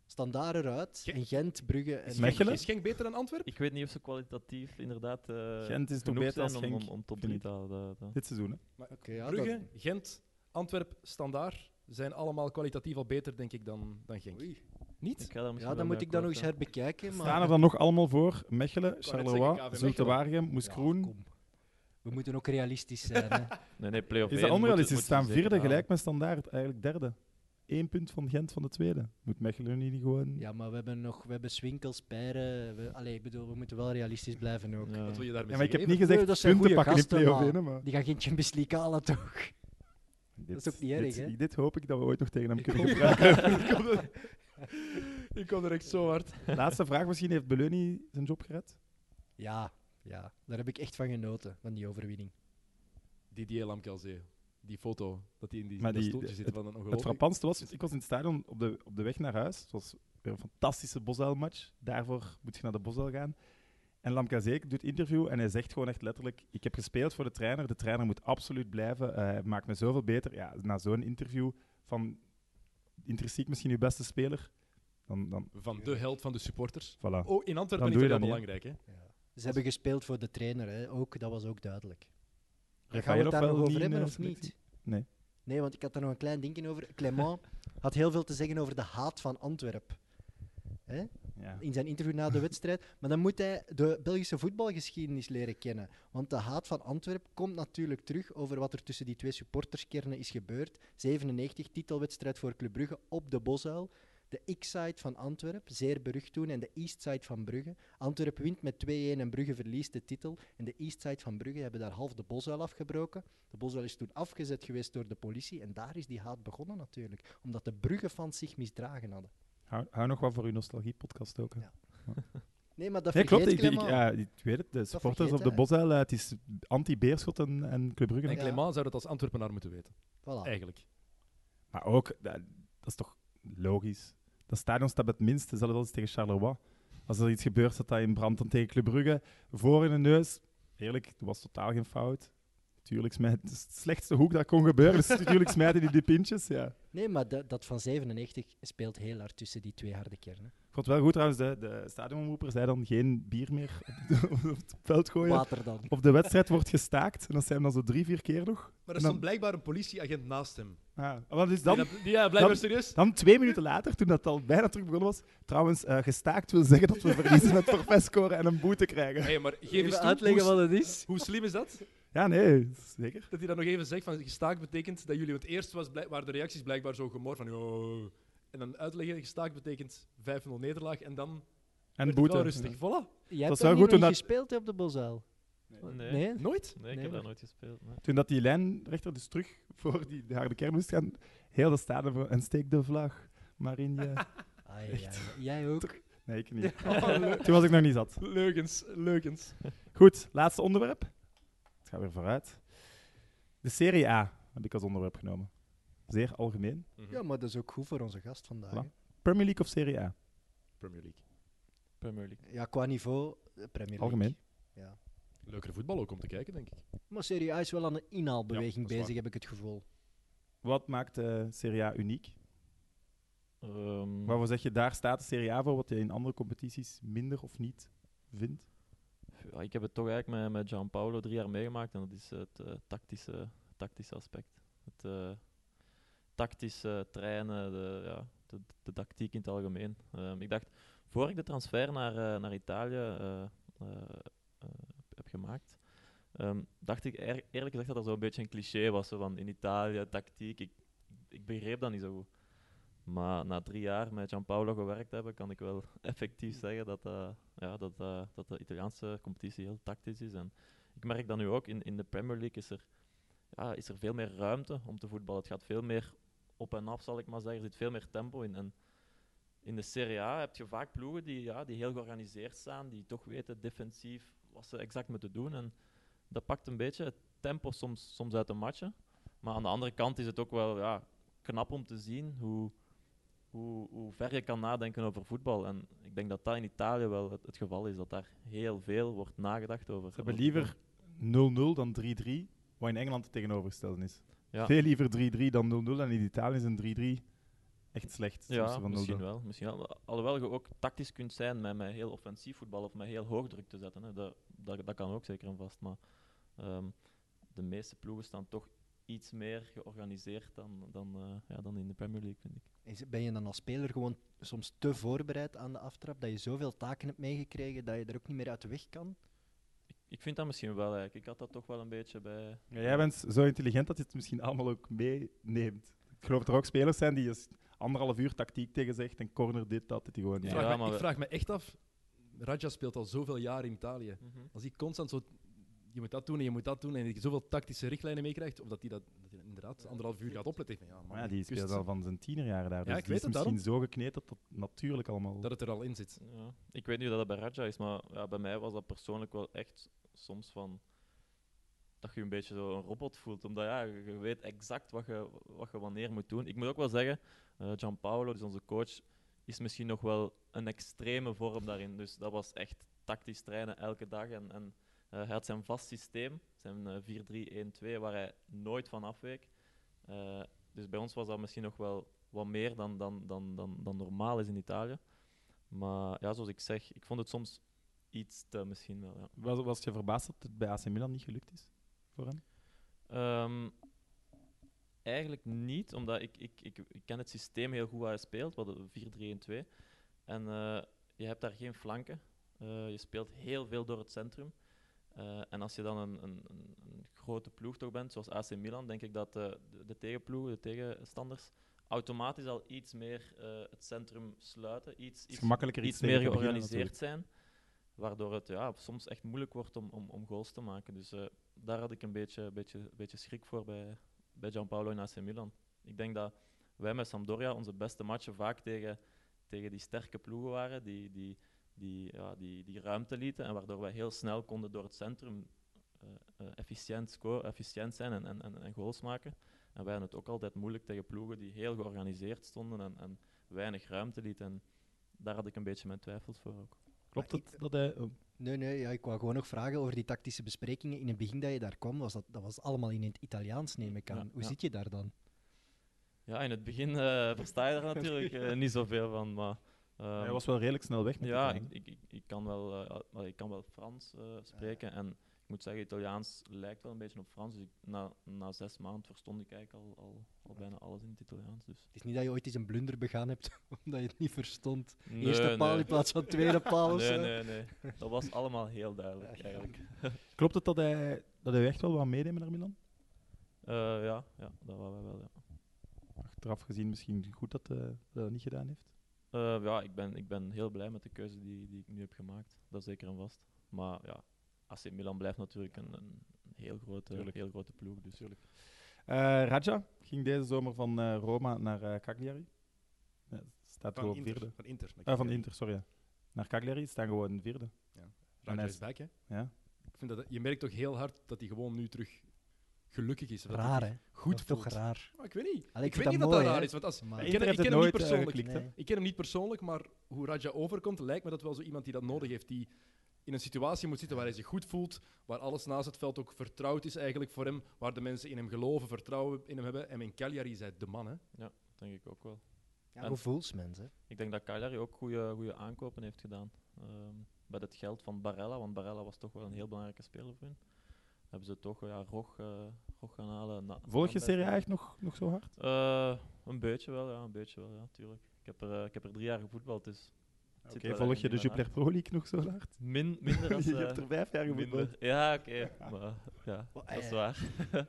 Standaard eruit.
Ge-
en Gent, Brugge en...
Is
Mechelen?
Is Genk beter dan Antwerp?
Ik weet niet of ze kwalitatief inderdaad eh
Gent is toch
genoeg
beter als
zijn om,
Genk,
om, om top
vind
3
ik.
te halen. dat- dat-
Dit seizoen, hè.
Oké, ja,
Brugge,
dat-
Gent, Antwerp, Standaard zijn allemaal kwalitatief al beter, denk ik, dan, dan Genk.
Oei.
Niet?
Ik ga daar misschien
Ja,
wel
dan moet
mee
ik dat nog
akkoord
eens
gaan.
herbekijken. Maar...
Staan er dan nog allemaal voor? Mechelen,
zeggen, KV
Charleroi,
Mechelen.
Zulte Waregem, Moes
Ja,
Kroen.
kom. We moeten ook realistisch zijn. Hè.
Nee, nee, play-off
Is dat
één moet-
onrealistisch? Ze
moet
staan
zeker
vierde,
halen.
gelijk met Standaard, eigenlijk derde. Eén punt van Gent van de tweede. Moet Mechelen nu niet gewoon...
Ja, maar we hebben nog... We hebben Swinkels, Pijren... We, allee, ik bedoel, we moeten wel realistisch blijven ook.
Ja.
Wat wil je daarmee
Ja, maar ik heb
zeggen?
niet
Nee,
gezegd
dat zijn
punten
goeie
pakken in
gasten,
play-off
maar-
één, hè, maar...
Die gaan geen Champions League halen, toch?
Dit,
is ook niet erg,
dit,
hè?
Dit hoop ik dat we ooit nog tegen hem
Ik
kunnen
kom-
gebruiken.
Ik kom er- Ik kom er echt zo hard.
Laatste vraag misschien. Heeft Beluni zijn job gered?
Ja, ja, daar heb ik echt van genoten, van die overwinning.
Didier Lamkelzee. Die foto, dat hij in die,
Maar
dat
die-
stoeltje zit
het-
van een
Het
ongelooflijk...
frappantste was, ik was in het stadion op de, op de weg naar huis. Het was weer een fantastische Bosuil-match. Daarvoor moet je naar de Bosuil gaan. En Lamkazek doet interview en hij zegt gewoon echt letterlijk: Ik heb gespeeld voor de trainer, de trainer moet absoluut blijven, eh, hij maakt me zoveel beter. Ja, na zo'n interview van intrinsiek misschien uw beste speler, dan, dan
Van de held van de supporters.
voilà.
Oh, in Antwerpen
Dan
is
doe
dat
je
heel
dat
belangrijk, hè?
Ja. Ze hebben gespeeld voor de trainer, hè. Ook, dat was ook duidelijk. Gaan we
Rafael
het daar
of
nog
wel
over
niet in
hebben
de
of niet?
selectie? Nee.
Nee, want ik had daar nog een klein dingetje over. Clement had heel veel te zeggen over de haat van Antwerpen
Ja.
in zijn interview na de wedstrijd. Maar dan moet hij de Belgische voetbalgeschiedenis leren kennen. Want de haat van Antwerpen komt natuurlijk terug over wat er tussen die twee supporterskernen is gebeurd. 97, titelwedstrijd voor Club Brugge op de Bosuil. De X-side van Antwerpen, zeer berucht toen, en de East-side van Brugge. Antwerpen wint met 2-1 en Brugge verliest de titel. En de East-side van Brugge hebben daar half de Bosuil afgebroken. De Bosuil is toen afgezet geweest door de politie. En daar is die haat begonnen natuurlijk. Omdat de Brugge-fans zich misdragen hadden.
Hou, hou nog wat voor uw nostalgie-podcast ook. hè.
Ja. Nee, maar dat
Nee, klopt. Ik,
vergeet
ik,
Clement.
ja, ik weet het. De supporters op de
vergeet hij.
Bosuil, eh, het is anti-Beerschot en, en Club Brugge.
En
Ja.
Clément zou dat als Antwerpenaar moeten weten,
Ah. Eh,
Voilà.
eigenlijk.
Maar ook, eh, dat is toch logisch. Dat stadion staat bij het minste, zelfs als tegen Charleroi. Als er iets gebeurt, staat dat in brand dan tegen Club Brugge. Voor in de neus. Eerlijk, er was totaal geen fout. Tuurlijk smijt, het is het slechtste hoek dat kon gebeuren. Dus natuurlijk smijten die die pintjes, ja.
Nee, maar dat, dat van 97 speelt heel hard tussen die twee harde kernen.
Ik vond het wel goed trouwens, de, de stadionomroeper zei dan geen bier meer op, de- op het veld gooien.
Water dan.
Of de wedstrijd wordt gestaakt. En dat zijn hem dan zo drie, vier keer nog.
Maar
En
er
dan-
stond blijkbaar een politieagent naast hem.
Ah, wat is
En
dan?
dat- ja, blijkbaar
dan-
serieus.
Dan twee minuten later, toen dat al bijna terug begonnen was. Trouwens, eh, gestaakt wil zeggen dat we verliezen met forfait scoren en een boete krijgen.
Hey, maar geef eens toe, hoe,
wat het is.
hoe slim is dat?
Ja, nee, zeker.
Dat hij dat nog even zegt, van gestaakt betekent dat jullie... Want eerst was blijk- waren de reacties blijkbaar zo gemor van... "Oh." En dan uitleggen, gestaakt betekent 5-0 nederlaag en dan... werd
En
het
boete.
wel rustig, voilà.
Jij
was
hebt
wel
wel
goed
goed
toen
niet
dat-
gespeeld hè, op de Bosuil.
Nee, nee,
Nee?
Nooit?
ik
Nee,
heb
maar-
daar nooit gespeeld. nee.
Toen dat die lijnrechter dus terug voor die de harde kern moest gaan, heel de stadion voor en steek de vlag. Maar in je...
Ai, ai, ai. Ah, Jij ook.
Nee, ik niet. Toen was ik nog niet zat.
Oh, Leugens, leugens.
Goed, laatste onderwerp. Het gaat weer vooruit. De Serie A heb ik als onderwerp genomen. Zeer algemeen.
Mhm.
Ja, maar dat is ook goed voor onze gast vandaag. hè.
Premier League of Serie A?
Premier League.
Premier League.
Ja, qua niveau, eh, Premier League.
Algemeen.
Ja.
Leukere voetbal ook om te kijken, denk ik.
Maar Serie A is wel aan een inhaalbeweging
Ja, dat is
bezig,
waar.
heb ik het gevoel.
Wat maakt de Serie A uniek?
Ehm,
Waarvoor zeg je, daar staat de Serie A voor, wat je in andere competities minder of niet vindt?
ja, ik heb het toch eigenlijk met, met Gianpaolo drie jaar meegemaakt en dat is het eh, tactische, tactische aspect. Het eh, tactische trainen, de, ja, de, de tactiek in het algemeen. Ehm, ik dacht, voor ik de transfer naar, eh, naar Italië eh, eh, eh, heb gemaakt, ehm, dacht ik eer- eerlijk gezegd dat er zo'n beetje een cliché was zo van in Italië, tactiek. Ik, ik begreep dat niet zo goed. Maar na drie jaar met Gianpaolo gewerkt hebben, kan ik wel effectief zeggen dat, eh, ja, dat, eh, dat de Italiaanse competitie heel tactisch is. En ik merk dat nu ook, in, in de Premier League is er, ja, is er veel meer ruimte om te voetballen. Het gaat veel meer op en af, zal ik maar zeggen. Er zit veel meer tempo in. En in de Serie A heb je vaak ploegen die, ja, die heel georganiseerd staan, die toch weten defensief wat ze exact moeten doen. En dat pakt een beetje het tempo soms, soms uit de matchen. Maar aan de andere kant is het ook wel ja, knap om te zien hoe, hoe, hoe ver je kan nadenken over voetbal. En ik denk dat dat in Italië wel het, het geval is, dat daar heel veel wordt nagedacht over.
Ze hebben
over
liever 0-0 dan 3-3, wat in Engeland het tegenovergestelde is.
Ja.
Veel liever 3-3 dan 0-0 en in Italië is een 3-3 echt slecht. soms
Ja,
van 0-0.
misschien wel, misschien wel. Alhoewel je ook tactisch kunt zijn met, met heel offensief voetbal of met heel hoog druk te zetten. Hè. Dat, dat, dat kan ook zeker en vast. Maar ehm, de meeste ploegen staan toch iets meer georganiseerd dan, dan, eh, ja, dan in de Premier League, vind ik.
Is- Ben je dan als speler gewoon soms te voorbereid aan de aftrap, dat je zoveel taken hebt meegekregen dat je er ook niet meer uit de weg kan?
Ik, ik vind dat misschien wel eigenlijk. Ik had dat toch wel een beetje bij.
Ja, jij bent zo intelligent dat je het misschien allemaal ook meeneemt. Ik geloof dat er ook spelers zijn die je anderhalf uur tactiek tegen zegt en corner dit, dat, dit die gewoon.
Ik
Ja.
vraag,
Ja,
me,
maar
ik
we-
vraag me echt af... Raja speelt al zoveel jaar in Italië.
Mhm.
Als hij constant zo... Je moet dat doen en je moet dat doen en je zoveel tactische richtlijnen meekrijgt, of dat hij dat, dat hij inderdaad anderhalf uur gaat opletten. Ik denk, Ja, man,
Maar ja, die
kust
speelt al van zijn tienerjaren daar. dus
ik
die
weet
is
het,
misschien zo gekneed dat dat natuurlijk allemaal...
Dat het er al in zit.
Ja. Ik weet niet hoe dat bij Raja is, maar ja, bij mij was dat persoonlijk wel echt soms van dat je je een beetje zo een robot voelt, omdat ja, je je weet exact wat je, wat je wanneer moet doen. Ik moet ook wel zeggen, eh Gianpaolo, dus onze coach, is misschien nog wel een extreme vorm daarin. Dus dat was echt tactisch trainen elke dag. En, en eh, hij had zijn vast systeem, zijn eh 4-3-1-2, waar hij nooit van afweek. Eh, dus bij ons was dat misschien nog wel wat meer dan, dan, dan, dan, dan normaal is in Italië. Maar ja, zoals ik zeg, ik vond het soms iets te misschien wel. Ja.
Was, was je verbaasd dat het bij AC Milan niet gelukt is voor hem?
Ehm, eigenlijk niet, omdat ik, ik, ik, ik ken het systeem heel goed waar hij speelt, wat 4, 3 en 2. En eh, je hebt daar geen flanken. Eh, je speelt heel veel door het centrum. Eh, en als je dan een, een, een, een grote ploeg toch bent, zoals AC Milan, denk ik dat eh, de, de tegenploegen, de tegenstanders, automatisch al iets meer eh, het centrum sluiten. Iets,
Het is
iets
gemakkelijker
iets
tegen
meer
te beginnen
georganiseerd zijn. Waardoor het ja, soms echt moeilijk wordt om, om, om goals te maken. Dus eh, daar had ik een beetje, beetje, beetje schrik voor bij, bij Gianpaolo in AC Milan. Ik denk dat wij met Sampdoria onze beste matchen vaak tegen, tegen die sterke ploegen waren. Die, die, die, ja, die, die ruimte lieten. En waardoor wij heel snel konden door het centrum eh, eh, efficiënt, sco- efficiënt zijn en, en, en, en goals maken. En wij hadden het ook altijd moeilijk tegen ploegen die heel georganiseerd stonden en, en weinig ruimte lieten. En daar had ik een beetje mijn twijfels voor ook.
Klopt
Maar
het dat hij... oh,
Nee, nee, ja, ik wou gewoon nog vragen over die tactische besprekingen. In het begin dat je daar kwam, was dat, dat was allemaal in het Italiaans, neem ik aan.
Ja,
Hoe
ja.
zit je daar dan?
Ja, in het begin eh, versta je daar natuurlijk eh, niet zoveel van, maar... ehm,
hij was wel redelijk snel weg met
ja,
die
ik,
trein, hè?
ik, ik, ik kan wel, eh, al- wel- ik kan wel Frans eh, spreken en ik moet zeggen, Italiaans lijkt wel een beetje op Frans. Dus ik- na, na zes maanden verstond ik eigenlijk al, al, al bijna alles in het Italiaans. Dus.
Het is niet dat je ooit eens een blunder begaan hebt omdat je het niet verstond.
Nee,
Eerste
nee.
paal in plaats van tweede paal of
Nee,
zo.
nee, nee. Dat was allemaal heel duidelijk eigenlijk.
Klopt het dat hij, dat hij echt wel wat meenemen naar Milan?
Eh, ja, ja, dat waren wij wel, ja.
Achteraf gezien misschien goed dat eh, dat hij dat niet gedaan heeft.
Eh, ja, ik ben, ik ben heel blij met de keuze die, die ik nu heb gemaakt. Dat is zeker en vast. Maar ja, AC Milan blijft natuurlijk een, een heel, grote,
Tuurlijk.
heel grote ploeg. Dus.
Eh, Raja ging deze zomer van eh, Roma naar eh, Cagliari. Ja, staat
Van
gewoon
Inter.
vierde.
Van Inter.
Ah, van Inter, sorry. ja. Naar Cagliari staan gewoon vierde. En
Raja
hij
is
is-
back, hè.
Ja.
Ik vind dat, je merkt toch heel hard dat hij gewoon nu terug gelukkig is. Dat hij
Raar,
zich
hè?
Goed
Dat is toch
voelt.
raar.
Maar ik weet niet.
Allee,
ik weet niet dat
mooi,
dat
hè.
raar is. Want als,
Maar-
ik
Inter
ken, ik
heeft
ken
het
hem niet
nooit eh,
persoonlijk.
geklikt, hè.
Nee.
Ik ken hem niet persoonlijk, maar hoe Raja overkomt, lijkt me dat wel zo iemand die dat nodig heeft. Die in een situatie moet zitten waar hij zich goed voelt, waar alles naast het veld ook vertrouwd is eigenlijk voor hem, waar de mensen in hem geloven, vertrouwen in hem hebben. En in Cagliari is hij de man, hè.
Dat denk ik ook wel.
Ja, gevoelsmens, hè.
Ik denk dat Cagliari ook goede aankopen heeft gedaan. Ehm met het geld van Barella, want Barella was toch wel een heel belangrijke speler voor hen. Hebben ze toch eh, ja, Rog, eh, Rog gaan halen. Na-
Volg je
Fernandes.
Serie A echt nog, nog zo hard?
Eh, een beetje wel, ja, een beetje wel, ja, tuurlijk. Ik heb er, eh, ik heb er drie jaar gevoetbald, dus...
Oké,
het zit wel
volg
in
je de
mijn hart.
Jupiler Pro League nog zo hard?
Min, minder als...
je
eh,
hebt er vijf jaar gevoetbald.
minder. Ja, oké. maar ja,
Wel,
dat is
eh,
waar.
Eh,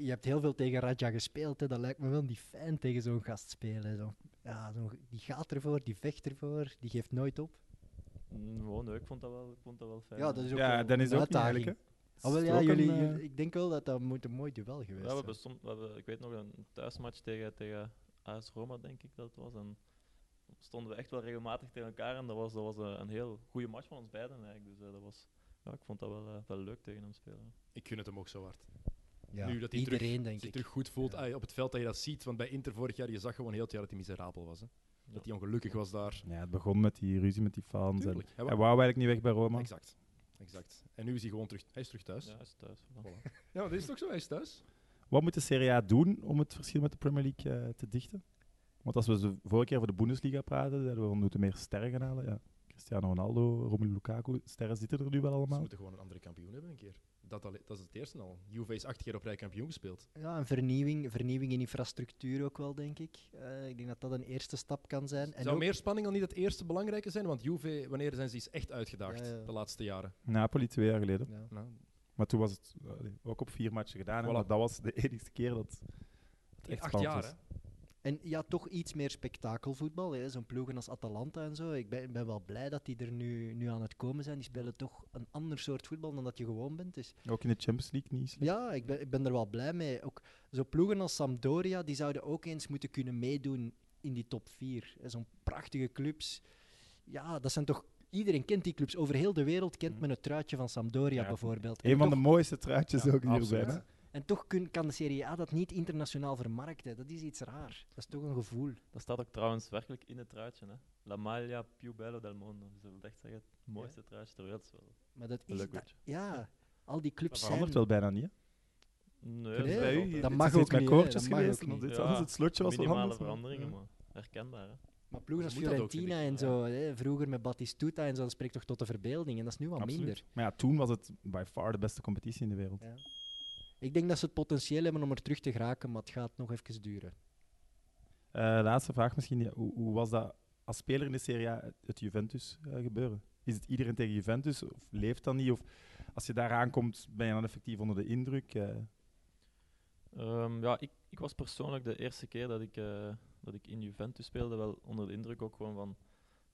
Je hebt heel veel tegen Raja gespeeld, hè. Dat lijkt me wel niet fijn tegen zo'n gast spelen. Zo. Ja, zo, die gaat ervoor, die vecht ervoor, die geeft nooit op.
Mm, Gewoon leuk, ik vond dat wel, ik vond dat wel fijn.
Ja, dat is ook
Ja,
wel
dan is
een
het ook niet
uitdaging.
eigenlijk, hè?
Ah, wel,
Het is
ja,
ook
jullie,
een, eh,
jullie- ik denk wel dat dat moet een mooi duel
Ja,
geweest
we
is.
hebben som- we hebben, ik weet nog, een thuismatch tegen, tegen AS Roma, denk ik dat het was. En stonden we echt wel regelmatig tegen elkaar. En dat was, dat was eh, een heel goede match van ons beiden eigenlijk. Dus eh, dat was, ja, ik vond dat wel, eh, wel leuk tegen hem spelen.
Ik gun het hem ook zo hard.
Ja,
nu dat hij terug-
iedereen, denk
zich
ik.
terug goed voelt
Ja.
ah, op het veld dat je dat ziet. Want bij Inter vorig jaar, je zag gewoon heel het jaar dat hij miserabel was. Hè. Dat hij ongelukkig was daar.
Ja, het begon met die ruzie met die fans. En,
Tuurlijk. Hij
hij
wa-
wou eigenlijk niet weg bij Roma.
exact. exact. En nu is hij gewoon terug, hij is terug
Dus?
thuis.
Ja, is thuis. voilà.
Ja, maar dat is toch zo, hij is thuis.
Wat moet de Serie A doen om het verschil met de Premier League eh, te dichten? Want als we de vorige keer over de Bundesliga praten, zeiden we, we moeten meer sterren gaan halen. Ja. Cristiano Ronaldo, Romelu Lukaku, sterren zitten er nu wel
Ze
allemaal.
moeten gewoon een andere kampioen hebben een keer. Dat, alle- dat is het eerste al. Juve is acht keer op rij kampioen gespeeld.
Ja, en vernieuwing, vernieuwing in infrastructuur ook wel, denk ik. Eh, ik denk dat dat een eerste stap kan zijn. En
Zou
ook-
meer spanning al niet het eerste belangrijke zijn? Want Juve, wanneer zijn ze eens echt uitgedaagd
Ja, ja.
de laatste jaren?
Napoli twee jaar geleden.
ja.
Nou,
Maar toen was het allee, ook op vier matchen gedaan. hè,
Voilà.
maar dat was de enige keer dat het
in
echt
acht
spannend
jaar,
was.
hè?
En ja, toch iets meer spektakelvoetbal. hè. Zo'n ploegen als Atalanta en zo. Ik ben, ik ben wel blij dat die er nu, nu aan het komen zijn. Die spelen toch een ander soort voetbal dan dat je gewoon bent. Dus
Ook in de Champions League niet slecht.
ja, ik ben, ik ben er wel blij mee. Ook zo'n ploegen als Sampdoria, die zouden ook eens moeten kunnen meedoen in die top 4. Zo'n prachtige clubs. Ja, dat zijn toch... Iedereen kent die clubs. Over heel de wereld kent men het truitje van Sampdoria
Mm. Ja.
bijvoorbeeld. En
Een van de
toch-
mooiste truitjes
Ja,
ook die er
absoluut.
zijn. hè.
En En toch kun, kan de Serie A dat niet internationaal vermarkten. Dat is iets raar. Dat is toch een gevoel.
Dat staat ook trouwens werkelijk in het truitje. Hè? La Maglia più bello del mondo. Dus dat wil echt zeggen, het mooiste truitje ter wereld. is wel-
Maar dat
Een
is...
leuk
dat-
beetje.
ja, al die
Dat
clubs zijn...
verandert wel bijna niet. Hè?
Nee,
Dat is bij
dat is
u
altijd
dat
het
mag
is iets
ook
met
niet, hè.
koortjes
Dat mag
geweest en
ook
dat
niet.
dit
Ja,
anders. Het slotje was wat
minimale
anders.
veranderingen,
Ja.
maar herkenbaar. Hè?
Maar ploegen als
Moet dat ook, vind
Fiorentina en
ik.
zo, hè, vroeger met Batistuta en zo, dat spreekt toch tot de verbeelding. En dat is nu wat
Absoluut.
minder.
Maar ja, toen was het by far de beste competitie in de wereld.
Ja. Ik denk dat ze het potentieel hebben om er terug te geraken, maar het gaat nog even duren.
Eh, laatste vraag misschien. ja, hoe, hoe was dat als speler in de Serie A het, het Juventus eh, gebeuren? Is het iedereen tegen Juventus? Of leeft dat niet? Of als je daar aankomt, ben je dan effectief onder de indruk? Eh,
Ehm, ja, ik, ik was persoonlijk de eerste keer dat ik, eh, dat ik in Juventus speelde wel onder de indruk ook gewoon van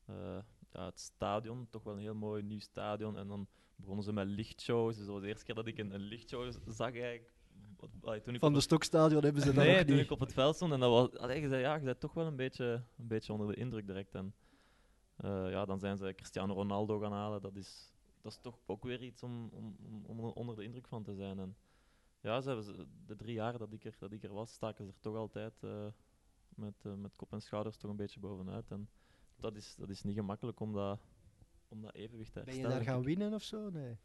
eh, ja, het stadion. Toch wel een heel mooi nieuw stadion. En dan begonnen ze met lichtshows. Dus dat was de eerste keer dat ik een, een lichtshow z- zag eigenlijk. Wat- allee, toen ik op
Van de
het-
Stokstadion hebben ze dat
nee,
ook
toen
niet.
ik op het veld stond en dat was, allee, je zei, ja, je bent toch wel een beetje, een beetje onder de indruk direct. En eh, ja, dan zijn ze Cristiano Ronaldo gaan halen. Dat is, dat is toch ook weer iets om, om, om- om onder de indruk van te zijn. En ja, ze hebben ze- de drie jaar dat ik er, dat ik er was, staken ze er toch altijd eh, met, eh, met kop en schouders toch een beetje bovenuit. En dat is, dat is niet gemakkelijk om dat, om dat evenwicht te
Ben je
herstellen.
daar gaan
denk ik.
winnen of zo? Nee.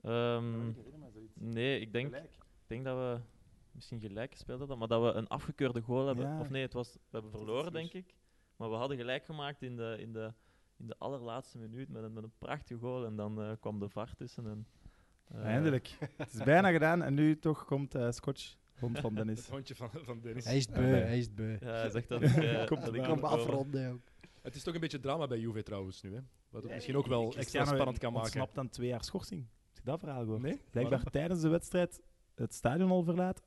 Ehm, nee, ik denk,
eh,
ik denk dat we misschien gelijk gespeeld hadden, maar dat we een afgekeurde goal hebben.
Ja.
Of nee, het was, we hebben verloren, denk ik. Maar we hadden gelijk gemaakt in de, in de, in de allerlaatste minuut met een, met een prachtige goal. En dan eh, kwam de VAR tussen. En, eh,
Eindelijk. het is bijna gedaan en nu toch komt eh, Scotch, hond van
Het
Dennis.
hondje van, van Dennis.
Hij is het beu,
Ah, nee.
hij is het beu.
Ja, hij zegt dat ik... eh,
Komt
dat
eraan.
ik
Kom
maar
afrol.
afronden ook.
Het is toch een beetje drama bij Juve trouwens nu, hè? Wat het
Ja,
misschien ook wel extra
Cristiano
spannend kan maken.
ontsnapt aan twee jaar schorsing. Heb je dat verhaal gehoord?
Nee?
Blijkbaar tijdens de wedstrijd het stadion al verlaat.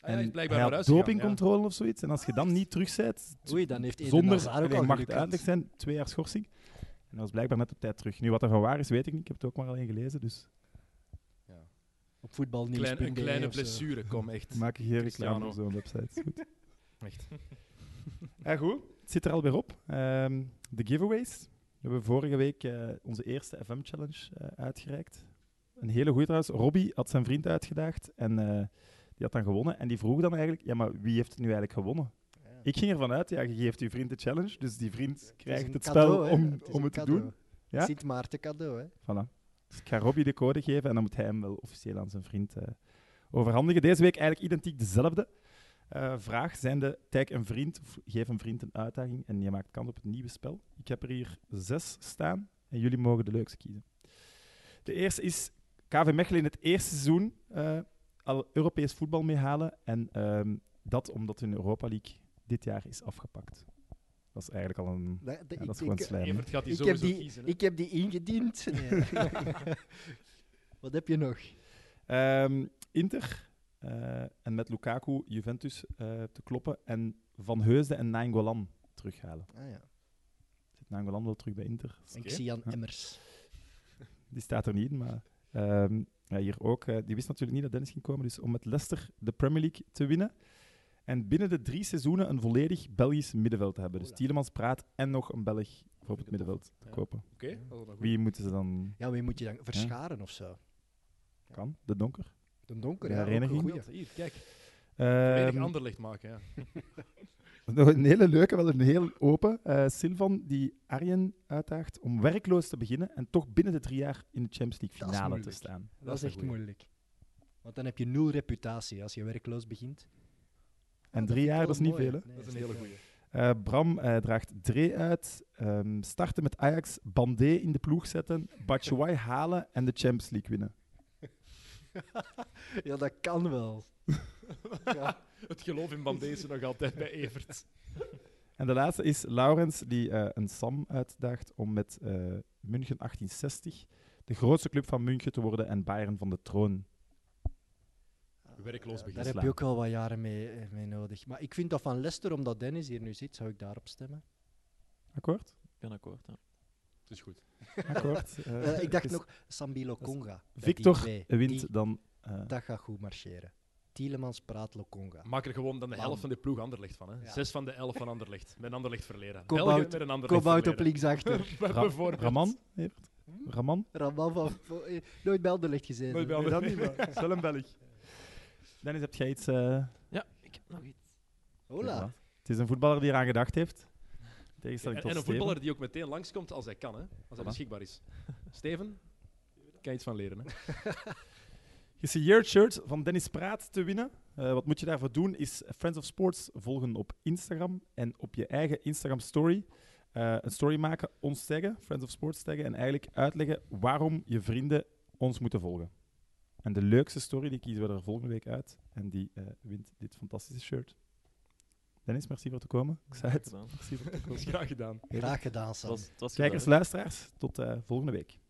Ah, ja, hij is blijkbaar
hij
naar huis
had
gegaan, ja.
dopingcontrole of zoiets. En als je dan niet terug bent,
Oei, dan heeft Eden
zonder,
Hazard ook
allee,
al
mag
geluk
het
gehad.
duidelijk zijn, twee jaar schorsing. En dat was blijkbaar net op tijd terug. Nu, wat er van waar is, weet ik niet. Ik heb het ook maar alleen gelezen, dus
Op voetbal niet.
Klein- een kleine blessure, kom echt.
maak ik geen
Cristiano.
reclame op zo'n website. Is Goed.
echt.
Ja, goed. Het zit er alweer op. Ehm, de giveaways. We hebben vorige week eh, onze eerste FM-challenge eh, uitgereikt. Een hele goede trouwens. Robbie had zijn vriend uitgedaagd en eh, die had dan gewonnen. En die vroeg dan eigenlijk, ja, maar wie heeft het nu eigenlijk gewonnen? Ik ging ervan uit, ja, je geeft je vriend de challenge, dus die vriend krijgt het, spel om het, om het te doen. Ja?
Sint Maarten cadeau, hè.
Voilà. Dus ik ga Robbie de code geven en dan moet hij hem wel officieel aan zijn vriend eh, overhandigen. Deze week eigenlijk identiek dezelfde eh, vraag. Zijn de tag een vriend of geef een vriend een uitdaging en je maakt kans op het nieuwe spel. Ik heb er hier zes staan en jullie mogen de leukste kiezen. De eerste is KV Mechelen in het eerste seizoen eh, al Europees voetbal meehalen. En ehm, dat omdat hun Europa League dit jaar is afgepakt. Dat is eigenlijk al een...
Dat, dat-
Ja,
ik,
dat is gewoon
ik-
slijm. hè.
Evert gaat die
ik heb
sowieso
die,
kiezen. hè.
ik heb die ingediend. Wat heb je nog?
Ehm, Inter eh, en met Lukaku Juventus eh, te kloppen en Van Heusden en Nainggolan terughalen.
Ah, ja.
Zit Nainggolan wel terug bij Inter?
En
Oké.
Xian
Ja.
Emmers.
Die staat er niet in, maar ehm, ja, hier ook. eh, die wist natuurlijk niet dat Dennis ging komen, dus om met Leicester de Premier League te winnen. En binnen de drie seizoenen een volledig Belgisch middenveld te hebben. Dus
Ola.
Tielemans praat en nog een Belg voor op het
een toffe.
middenveld te
Ja.
kopen.
Oké, Oh, dat is wel nog goed.
Wie moeten ze dan?
Ja, wie moet je dan verscharen of zo?
Kan? De Donker?
De donker,
De
ja. ook een
hereniging?
goeie.
Hier, kijk. Weinig
Ehm,
ander licht maken, ja.
Nog een hele leuke, wel een heel open. eh Silvan die Arjen uitdaagt om werkloos te beginnen en toch binnen de drie jaar in de Champions
Dat
League
is
finale te
moeilijk.
staan.
Dat is
een
echt
goeie.
moeilijk. Want dan heb je nul reputatie als je werkloos begint.
En drie jaar, dat is niet veel. Hè?
Dat is een hele goeie.
Eh, Bram eh, draagt Dre uit. ehm, starten met Ajax, Bandé in de ploeg zetten, Batshuayi halen en de Champions League winnen.
Ja, dat kan wel. ja.
Het geloof in Bandé is er nog altijd bij Evert.
En de laatste is Laurens, die eh, een Sam uitdaagt om met eh, München 1860 de grootste club van München te worden en Bayern van de troon.
Werkloos
Ja,
beginnen.
Daar heb je ook wel wat jaren mee, eh, mee nodig. Maar ik vind dat van Leicester, omdat Dennis hier nu zit, zou ik daarop stemmen.
Akkoord?
Ik ben akkoord, ja.
Het is goed.
Akkoord. Eh,
Eh, ik dacht
het is-
nog Sambilo Conga.
Victor
wint.
Wint dan... eh,
dat gaat goed marcheren. Tielemans praat Lokonga.
Maak er gewoon dan de
Man.
helft van de ploeg Anderlecht van. Hè.
Ja.
Zes van de elf van Anderlecht. Met een Anderlecht verleden.
Kop
België
out.
met een Anderlecht
Kop-out op
verleden.
linksachter.
Ra-
Bijvoorbeeld.
Raman? Evert? Raman?
Raman van... eh, Nooit bij Anderlecht gezeten.
Nooit bij
Nee,
Anderlecht.
dat niet, maar het is wel een Belg. Dennis, heb jij iets... eh,
Ik heb nog iets.
Hola.
ja. Het is een voetballer die eraan gedacht heeft. In Tegenstelling
En,
tot
en een
Steven.
voetballer die ook meteen langskomt als hij kan, hè? als hij
Voilà.
beschikbaar is. Steven, kan je iets van leren? Hè?
Gesigneerd shirt van Dennis Praat te winnen. Eh, wat moet je daarvoor doen? Is Friends of Sports volgen op Instagram en op je eigen Instagram story. eh, een story maken, ons taggen, Friends of Sports taggen en eigenlijk uitleggen waarom je vrienden ons moeten volgen. En de leukste story die kiezen we er volgende week uit en die eh, wint dit fantastische shirt. Dennis, merci voor te komen. Ik zei het.
gedaan.
Merci voor te
Dat
komen.
is graag gedaan.
Graag gedaan,
Het
Sam.
was, het was
Kijkers,
gedaan.
luisteraars, tot eh, volgende week.